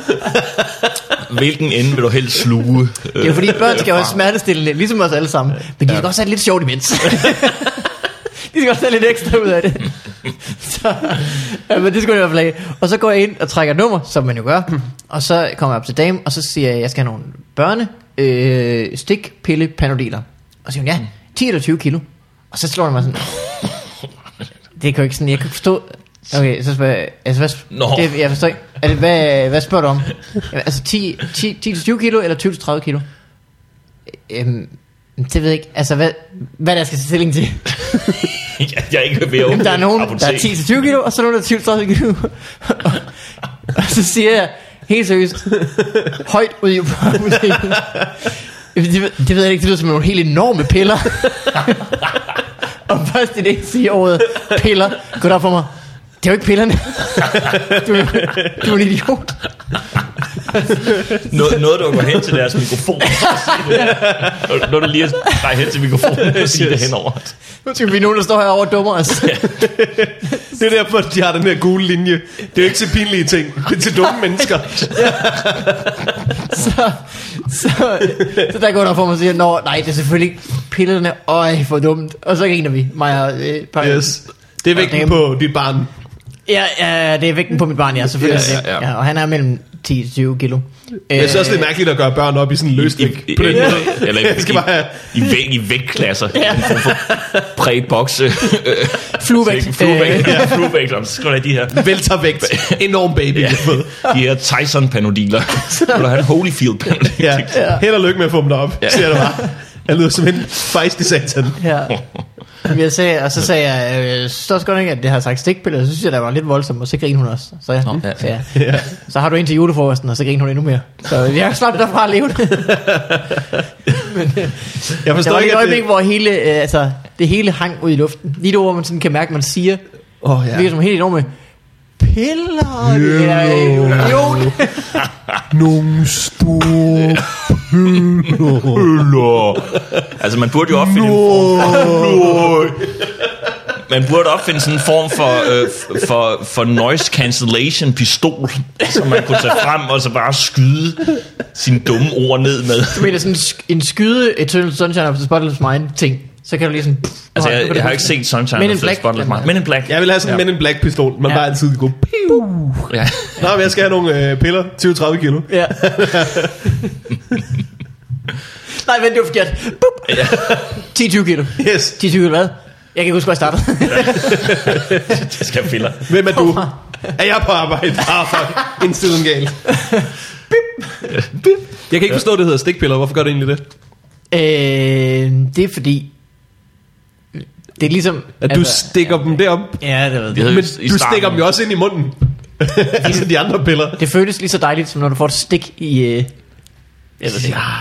Hvilken ende vil du helst sluge?
Det er jo fordi, børn skal jo have smertestillende, ligesom os alle sammen. Men de skal også have det lidt sjovt imens. de skal også have lidt ekstra ud af det. Så, ja, men det skulle jeg i hvert fald have. Og så går jeg ind og trækker nummer, som man jo gør. Og så kommer jeg op til dame, og så siger jeg, at jeg skal have nogle børne, øh, stik, pille, panodiler. Og så siger hun, ja, 10 eller 20 kilo. Og så slår det mig sådan, det kan jo ikke sådan, jeg kan ikke forstå. Okay, så spørger jeg, altså hvad,
Nå.
det, jeg forstår ikke, er det, hvad, hvad spørger du om? Jamen, altså 10, 10, 10 til 20 kilo, eller 20 til 30 kilo? Øhm, det ved jeg ikke, altså hvad, hvad er det, jeg skal tage stilling til?
jeg, jeg er ikke ved at
Jamen,
åbne
der er nogen,
apotek.
der er 10 til 20 kilo, og så er nogen, der er 20 til 30 kilo. og, og så siger jeg, helt seriøst, højt ud i apoteket. Jamen, det, ved- det ved jeg ikke, det lyder som nogle helt enorme piller. og først i det siger ordet, piller, gå der for mig. Det er jo ikke pillerne. du, er- du er en idiot.
Noget, noget, der går hen til deres mikrofon. Når du lige drejer hen til mikrofonen og siger det henover.
Nu skal vi nogen, der står herovre og dummer os.
Det er derfor, de har den her gule linje. Det er jo ikke til pinlige ting. Det er til dumme mennesker.
så, så, så der går der for mig og siger, Nå, nej, det er selvfølgelig ikke pillerne, øj, for dumt. Og så griner vi, mig og øh, par-
Yes. Det er vægten
Damn.
på dit barn.
Ja, ja, det er vægten på mit barn, ja, selvfølgelig.
Yes.
Yes, ja,
Ja,
ja.
ja.
ja, og han er mellem 10-20 kilo.
Jeg synes også, det er mærkeligt at gøre børn op i sådan en løsning. På den måde.
Eller i,
Jeg skal bare have...
i, i, væg, i vægtklasser. Ja. En form for præbokse.
Fluevægt.
Fluevægt. Fluevægt. Så skal du have de her,
Væltervægt. Øh. Enorm baby. Ja.
de her Tyson-panodiler. Så vil du have en Holyfield-panodil.
ja. Held og lykke med at få dem derop, ja. siger du bare. Jeg lyder som en fejst i satan.
Øh, Ja. Men Jeg sagde, og så sagde jeg, øh, synes du også godt nok, at det har sagt stikpiller, så synes jeg, det var lidt voldsomt, og så griner hun også. Så, ja.
Nå,
ja.
ja.
Så, ja. så har du en til julefrokosten, og så griner hun endnu mere. Så jeg kan slappe derfra at leve det.
Jeg
Der
forstår
var lige
ikke,
et
at
øjeblik,
det...
hvor hele, øh, altså, det hele hang ud i luften. Lige der, hvor man sådan kan mærke, at man siger,
Åh, oh,
ja. det er
ja.
som helt enorme, piller, det er jo idiot.
Nogle store pøller.
Nå. Altså, man burde jo opfinde en form Man burde opfinde sådan en form for, øh, f- for, for noise cancellation pistol, som man kunne tage frem og så bare skyde sine dumme ord ned med.
Du mener sådan en sk- en skyde Eternal Sunshine of the Spotless Mind ting. Så kan du lige sådan... pff,
Altså,
nå, nu kan
jeg,
du
jeg har ikke
huske det.
set Sunshine
Men
of
in
the
Black,
Spotless
den
Mind. Men in Black.
Jeg vil have sådan en
Ja.
Men in Black pistol. Man
Ja.
bare altid gå.
Ja.
Nej, men jeg skal have nogle øh, piller. 20-30 kilo.
Ja. Nej, vent, det var forkert. Bup. 10-20 kilo. 10-20
Yes.
kilo hvad? Jeg kan ikke huske, hvor jeg startede.
Det skal jeg filler.
Hvem er du? Er jeg på arbejde? Ah, fuck. Indstillen gal. Bip. Bip. Jeg kan ikke forstå, at det hedder stikpiller. Hvorfor gør det egentlig det?
øh, det er fordi... Det er ligesom...
At du stikker dem derop.
Ja, det ved jeg.
Det havde
Men
vi i
du
starten.
stikker dem jo også ind i munden. ligesom de andre piller.
Det føles lige så dejligt, som når du får et stik i... Øh, jeg ved det ikke.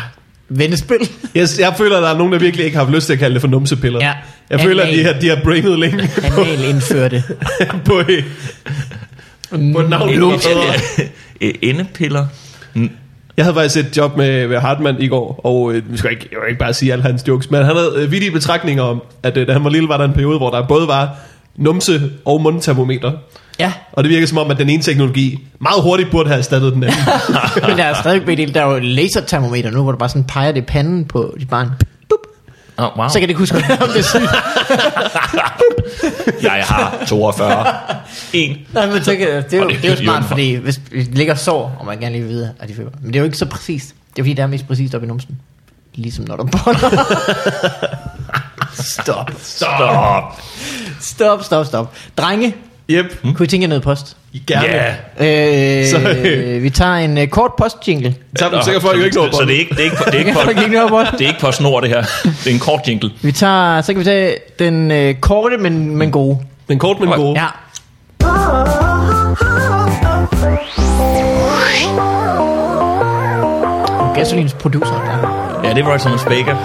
vendespil.
Jeg, jeg føler, at der er nogen, der virkelig ikke har haft lyst til at kalde det for numsepiller.
Ja.
Jeg føler, at de har, de har brained længe på,
Anal indførte.
på, øh, på navnet.
Endepiller.
Jeg havde faktisk et job med, med Hartmann i går, og øh, vi skal ikke, jeg vil ikke bare sige alle hans jokes, men han havde øh, vidige betragtninger om, at øh, da han var lille, var der en periode, hvor der både var numse og mundtermometer.
Ja,
Og det virker som om, at den ene teknologi meget hurtigt burde have erstattet den anden.
men der er stadig en del, der er jo lasertermometer nu, hvor du bare sådan peger det i panden på dit barn. Bup.
Oh, wow.
Så kan det ikke huske, om det er sygt.
Jeg har 42. En.
Nej, men så kan, det, er jo,
Og det
det er jo smart,
idioten.
fordi hvis hvis det ligger sår, og man gerne lige vil vide, at de føler. Men det er jo ikke så præcist. Det er fordi, det er mest præcist oppe i numsen. Ligesom når du boller. stop.
Stop.
Stop, stop, stop. Drenge,
Yep,
mm. kunne I tænke jer noget post?
I gerne.
Ja.
Yeah.
Øh,
Så-
vi tager en uh, kort postjingle.
Så er du sikker for, at I jo ikke når
Så det er ikke, det er ikke, det er ikke,
Jeg
på,
kan ikke nå på den.
det er ikke på snor, det her. Det er en kort jingle.
Vi tager, så kan vi tage den øh, korte, men, men gode.
Den kort, men gode.
Ja. Gasolins producer. Der.
Ja, det er Roy Thomas Baker.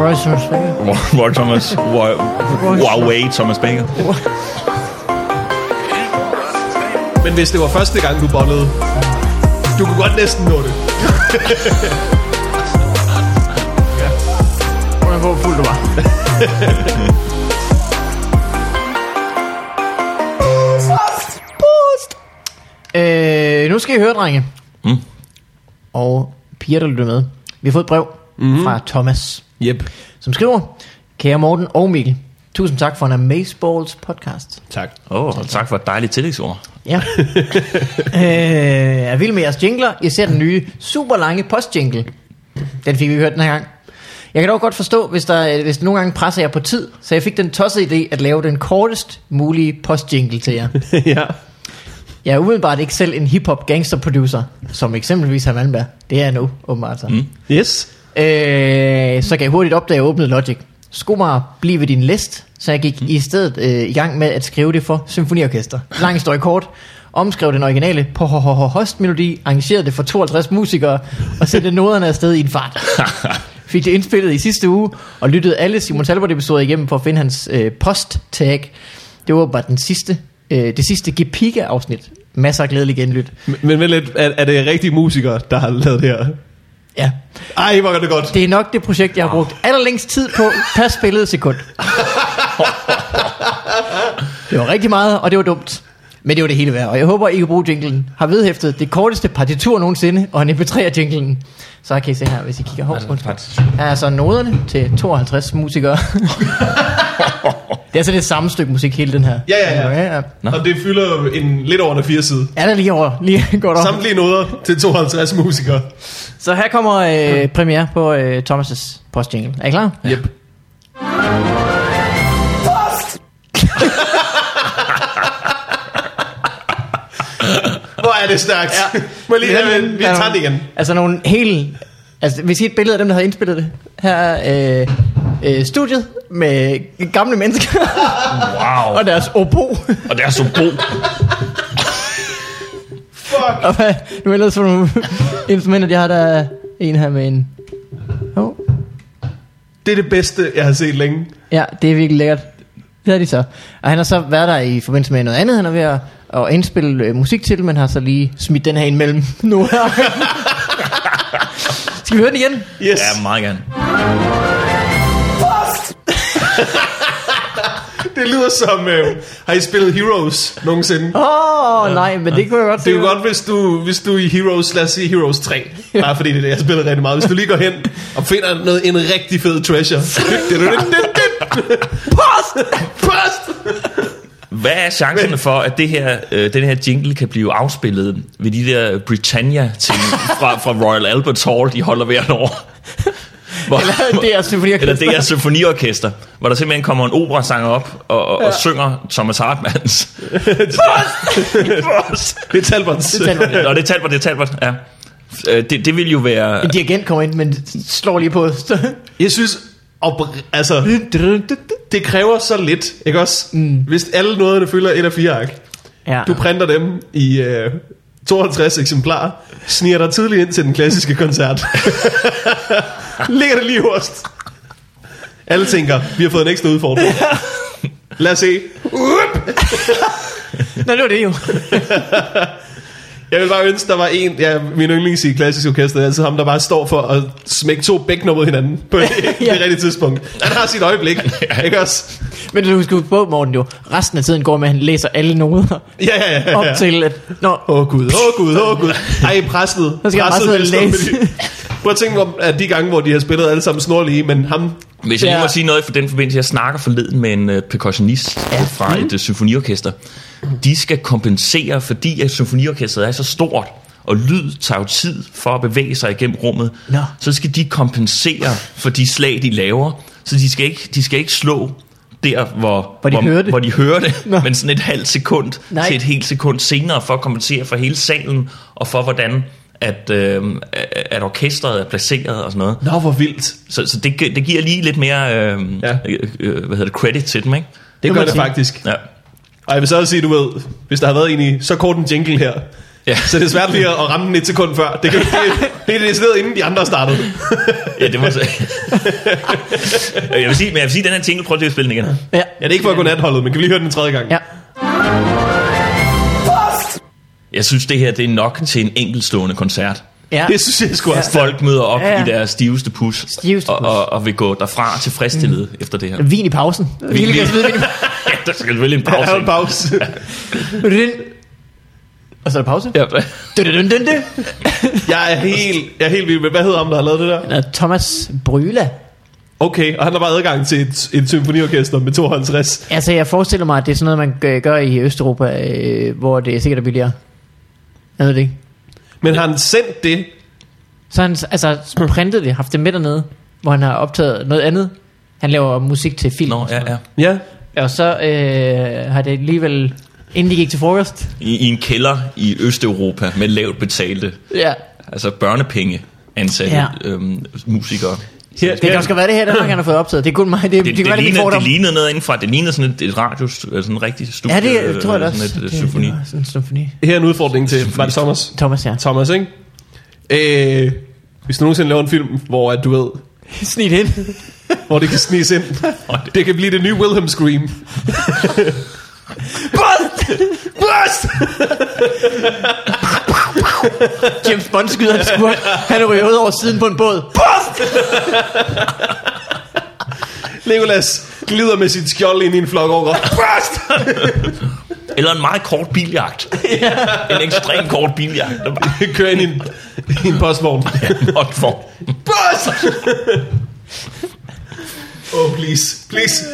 Royce
Roy- Roy Thomas... Roy, Huawei Thomas Baker.
Men hvis det var første gang, du bollede, du kunne godt næsten nå det.
Hvor fuld du var. Øh, nu skal I høre, drenge.
Mm.
Og piger, der lytter med. Vi har fået et brev mm. fra Thomas,
Yep.
som skriver, Kære Morten og Mikkel, tusind tak for en Amazeballs podcast.
Tak.
Åh, oh, tak for et dejligt tillægsord.
Ja. øh, jeg er vild med jeres jingler. Især den nye super lange postjingle. Den fik vi hørt den her gang. Jeg kan dog godt forstå, hvis, der, hvis nogle gange presser jeg på tid, så jeg fik den tossede idé at lave den kortest mulige postjingle til jer.
ja.
Jeg er umiddelbart ikke selv en hiphop gangster producer, som eksempelvis Herr Malmberg. Det er jeg nu, åbenbart så. Mm.
Yes.
Øh, så kan jeg hurtigt opdage, at jeg åbnede Logic. Sko mig blive ved din list, så jeg gik i stedet øh, i gang med at skrive det for symfoniorkester. Lang historie kort. Omskrev den originale på hostmelodi, arrangerede det for 52 musikere og sendte noderne afsted i en fart. Fik det indspillet i sidste uge og lyttede alle Simon Talbot-episoder igennem for at finde hans øh, post-tag. Det var bare den sidste, øh, det sidste Gepika-afsnit. Masser af glædelig genlyt.
Men- Men vel, er, er det rigtige musikere, der har lavet det her?
Ja,
Ej, hvor er det godt.
Det er nok det projekt, jeg har brugt allerlængst tid på per spillet sekund. det var rigtig meget, og det var dumt. Men det var det hele værd, og jeg håber, I kan bruge jinglen. Har vedhæftet det korteste partitur nogensinde, og en MP3-jinglen. Så kan I se her, hvis I kigger hårdt.
faktisk-
Her er så noderne til 52 musikere. det er så det samme stykke musik, hele den her.
Ja, ja, ja.
ja.
Nå.
Og det fylder en lidt over en fire side.
Er der lige over? Lige godt over.
Samtlige noder til 52 musikere.
Så her kommer øh, premiere på øh, Thomas' postjingle. Er I klar?
Yep. Hvor er det stærkt. Ja. Må jeg lige
Det er
have,
nogle-
vi
der er
tager det
nogle-
igen.
Altså nogle helt... Altså, hvis I et billede af dem, der havde indspillet det. Her er øh, øh, studiet med gamle mennesker
Wow.
og deres obo.
Og det er så god.
Fuck.
og hvad, nu ellers for nogle instrumenter, de har der er en her med en... Oh.
Det er det bedste, jeg har set længe.
Ja, det er virkelig lækkert. Det er de så. Og han har så været der i forbindelse med noget andet, han er ved at, at indspille øh, musik til, men har så lige smidt den her ind mellem nu her. Skal vi høre den igen?
Yes.
Ja, meget gerne.
Det lyder som, øh, har I spillet Heroes nogensinde?
Åh, oh, nej, men det kunne jeg godt
Det er jo
se.
godt, hvis du, hvis du i Heroes, lad os sige Heroes 3, bare fordi det er det, jeg spiller rigtig meget. Hvis du lige går hen og finder noget, en rigtig fed treasure. Post! Post!
Hvad er chancen for, at det her, øh, den her jingle kan blive afspillet ved de der Britannia-ting fra, fra Royal Albert Hall, de holder hvert år? Hvor,
Eller det er symfoniorkester.
Eller det er symfoniorkester, hvor der simpelthen kommer en operasanger op og, og, ja. og synger Thomas Hartmanns.
Det er Talbots.
Det taler man om.
Nå, det er Talbot, det er Talbot, ja. Øh, Det, det vil jo være...
En dirigent kommer ind, men slår lige på.
Jeg synes, opr- altså, det kræver så lidt, ikke også? Mm. Hvis alle noderne fylder et af fire ark,
ja.
du printer dem i øh, 52 eksemplarer, sniger dig tidligt ind til den klassiske koncert. Ligger det lige hurst. Alle tænker, vi har fået en ekstra udfordring. Lad os se.
Nå, det var det jo.
Jeg vil bare ønske, der var en, ja, min yndlings i klassisk orkester, det er altid ham, der bare står for at smække to bækkener mod hinanden på det,
Ja.
ja. det rigtige tidspunkt. Han har sit øjeblik, ikke også?
Men du skal huske på, Morten, jo. Resten af tiden går med, at han læser alle noder
Ja, ja, ja. ja.
op til, at... Nå,
Åh oh, gud, åh oh, gud, åh oh, gud. Ej, præstet.
Så skal jeg bare sidde og læse.
Prøv at tænke om, at de gange, hvor de har spillet alle sammen snorlige, men ham...
Hvis jeg
Ja.
lige må sige noget for den forbindelse, jeg snakker forleden med en uh, percussionist ja. fra
Mm.
et uh, symfoniorkester. De skal kompensere, fordi at symfoniorkestret er så stort, og lyd tager jo tid for at bevæge sig igennem rummet.
Nå.
Så skal de kompensere for de slag, de laver. Så de skal ikke, de skal ikke slå der, hvor,
Hvor de hører det.
hvor de hører det
Nå.
men sådan et halvt sekund
Nej.
Nej. til et helt sekund senere, for at kompensere for hele salen, og for hvordan at, øh, at orkestret er placeret og sådan noget.
Nå, hvor vildt.
Så, så det, gi- det giver lige lidt mere øh,
Ja.
ja. øh, øh, hvad hedder det, credit til dem, ikke?
Det
må
gør
jeg
det
sige.
faktisk.
Ja.
Og jeg vil så også sige, du ved, hvis der har været en i så kort en jingle her,
Ja.
så det er svært lige at at ramme den et sekund før. Det, kan, det, det er decideret, inden de andre startede.
ja, det var så. jeg vil sige, men jeg vil sige, den her ting, prøv lige at spille den igen.
ja.
Ja, det er ikke for at gå natholdet, men kan vi lige høre den en tredje gang?
ja.
Jeg synes, det her det er nok til en enkeltstående koncert.
ja.
Det synes jeg sgu også.
Folk møder op
Ja,
ja,
ja.
ja. i deres stiveste pus,
Stiveste
og,
pus.
og, og vil gå derfra tilfredsstillet mm. efter det her.
Vin i pausen. Vin i pausen.
Ja, der skal selvfølgelig en
Der
pause.
er jo en
ikke?
pause.
Og så er der pause.
Ja.
Dun, dun, dun, dun.
Jeg er helt, jeg er helt vild med, hvad hedder ham, der har lavet det der?
Og Thomas Bryla.
Okay, og han har bare adgang til et, et symfoniorkester med 52.
Altså, jeg forestiller mig, at det er sådan noget, man gør- gør i Østeuropa, øh, hvor det er sikkert er billigere. Jeg ved det ikke.
Men har han sendt det
Så han altså, printet det, haft det med dernede, hvor han har optaget noget andet. Han laver musik til film.
Nå, ja, ja.
Ja.
Og så øh, har det alligevel, inden de gik til frokost.
I, I en kælder i Østeuropa med lavt betalte,
Ja.
altså børnepenge ansatte
Ja.
ja. øhm, musikere.
Her,
Det kan også godt være det her, der han har fået optaget. Det er kun mig. Det, det, det,
det,
det,
det,
det,
det,
det,
ligner,
det,
det ligner noget indenfra. Det ligner sådan et, et radio, øh, sådan en rigtig studie.
Ja, det tror jeg da
øh,
også.
Sådan et
Det-
øh, symfoni.
det var Sådan en symfoni.
her er en udfordring til, var det Thomas?
Thomas, ja.
Thomas, ikke? Øh, hvis du nogensinde laver en film, hvor at du ved,
Snit ind.
hvor det kan sniges ind, det kan blive det nye Wilhelm Scream.
Bust!
Blast!
James Bond skyder en skurk. Han ryger ud over siden på en båd.
Legolas glider med sit skjold ind i en flok over. Blast!
Eller en meget kort biljagt. En ekstrem kort biljagt. Der bare
Kører ind i en, i en postvogn.
er en for.
Blast! oh, please. Please.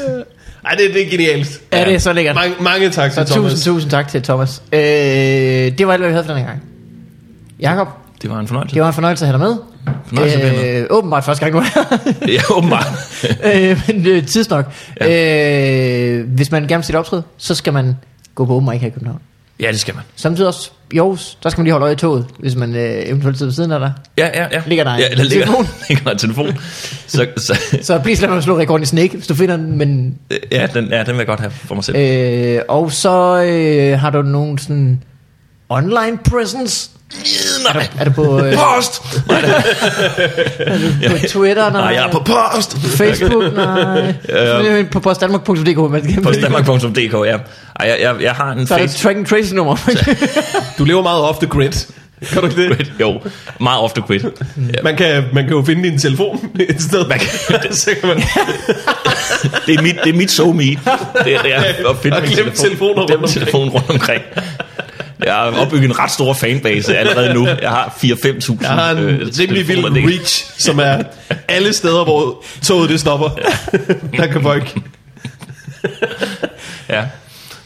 Ej, det, det er genialt.
Ja, det er så lækkert.
Mange, mange tak til
Så
Thomas.
tusind, tusind tak til Thomas. Øh, det var alt, hvad vi havde for den her gang. Jakob,
Det var en fornøjelse.
det var en fornøjelse at have dig med.
Fornøjelse at være
øh, åbenbart første gang, du var her.
Ja, åbenbart.
øh, men øh, tidsnok. Ja. Øh, hvis man gerne vil se et optræde, så skal man gå på open mic her i København.
Ja, det skal man.
Samtidig også i Aarhus, der skal man lige holde øje i toget, hvis man øh, eventuelt sidder ved siden af dig.
Ja, ja, ja.
Ligger der en
ja, der ligger,
telefon?
ligger der en telefon. Så, så,
Så please lad mig slå rekorden i Snake, hvis du finder den, men
ja, den, ja, den vil jeg godt have for mig selv.
Øh, og så øh, har du nogen sådan online presence?
Øh, nej.
Er du på, øh,
Post!
på Twitter? Nej,
Nej, jeg er på post!
Facebook? Nej. Øh, på postdanmark.dk. Man skal
På Danmark.dk, ja. Ej, jeg, jeg, jeg har en
så er der et
face...
track and trace nummer.
Du lever meget off the grid. Kan du ikke det?
Jo, meget ofte quit. Ja,
Man kan, man kan jo finde din telefon et sted. Man kan, så kan man,
Det er mit, det er mit so me. Det, er- det er at finde
Og
min
glemme telefoner rundt
Glemme
omkring.
telefonen rundt omkring. Jeg har opbygget en ret stor fanbase allerede nu. Jeg har 4-5.000.
jeg har en
øh,
rimelig vild
telefoner, det-
reach, som er alle steder, hvor toget det stopper. Der kan folk...
Ja.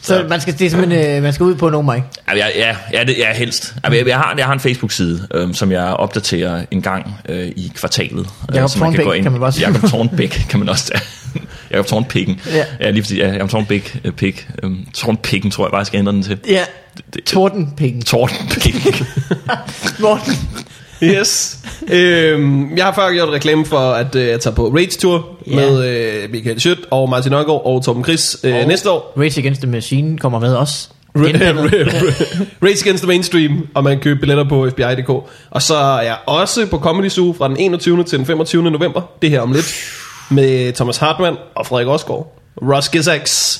så man skal, det er simpelthen, øh, man skal ud på en open mic.
Altså, jeg, ja, ja, det, ja, helst. Altså, jeg, jeg, har, jeg har en Facebook-side, øhm, som jeg opdaterer en gang øh, i kvartalet. øh,
Jakob
så man
Tornbæk
gå ind-
kan man bare sige.
Jakob Tornbæk kan man også tage. Jakob Tornpikken.
Ja.
Ja. ja, lige fordi, ja, Jakob Tornbæk, øh, pik. Øhm, Tornpikken tror jeg bare, jeg skal ændre den til.
Ja.
Det-
Tordenpenge.
Tornpikken.
Morten.
Yes. Øhm, jeg har før gjort reklame for, at øh, jeg tager på Rage Tour
Ja.
med øh, Michael Schødt og Martin Ørgaard og Torben Chris øh, næste år.
Rage Against the Machine kommer med os.
Race Against the Mainstream, og man kan købe billetter på FBI.dk. Og så er jeg også på Comedy Zoo fra den 21. til den 25. november, det her om lidt, med Thomas Hartmann og Frederik Osgaard. Russ Gizax.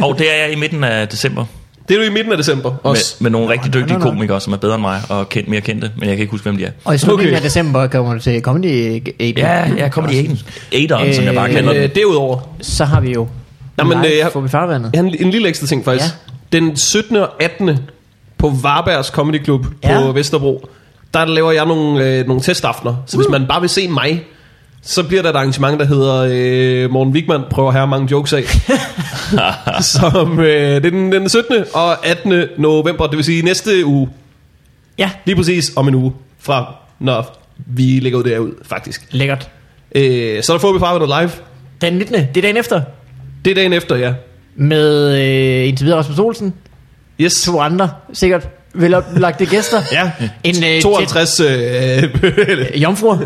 Og det er jeg i midten af december.
Det er du i midten af december også.
Med, med nogle rigtig dygtige
nå, nå.
komikere, som er bedre end mig, og kendt, mere kendte, men jeg kan ikke huske, hvem de er.
Og i slutningen
Okay.
okay. af december kommer du til Comedy Aid.
Ja, jeg kommer i Aiden. Aideren, som jeg bare
Øh,
kalder
Men,
den.
øh, derudover,
Så har vi jo
Nå, men, øh, jeg-
live, får vi farvandet.
Jeg har en, en lille ekstra ting faktisk. Ja. Den 17. og 18. på Varbergs Comedy Club ja. på
Ja.
Vesterbro, der laver jeg nogle, øh, nogle testaftener. Så hvis man bare vil se mig, så bliver der et arrangement, der hedder øh, Morten Wigman prøver her mange jokes af. som, øh, det er den, den 17. og 18. november, det vil sige næste uge.
Ja,
Lige præcis om en uge fra, når vi lægger det her ud, faktisk.
lækkert.
Øh, så er der får vi farvet live.
Den 19. Det er dagen efter.
Det er dagen efter, ja.
Med øh, indtil videre Rasmus Olsen.
Yes.
To andre, sikkert veloplagte gæster.
Ja.
En øh,
52 øh,
tæt- jomfru.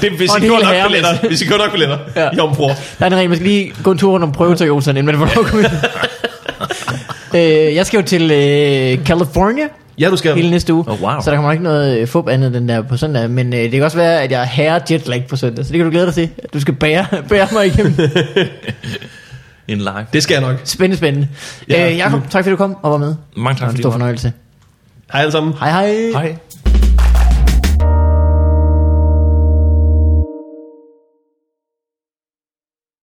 Det, hvis,
Og
I
en
går
hel
nok
herre med-
billetter, hvis I går nok billetter, ja.
Ja.
jomfru.
Der er en regel, man skal lige gå en tur rundt om prøvetøjolsen, inden man får lov at komme ind. øh, jeg skal jo til øh, California
Ja, du skal.
hele næste uge,
Oh, wow.
så der kommer ikke noget øh, fup andet den der på søndag, men øh, det kan også være, at jeg er herre jetlag på søndag, så det kan du glæde dig til. Du skal bære, bære mig igennem.
En live.
Det skal jeg nok.
spændende, spændende.
Ja.
Ja. Øh, Jakob, tak fordi du kom og var med.
Mange tak,
Det var en
fordi du
stor
var med.
fornøjelse.
Hej alle sammen.
Hej hej.
Hej.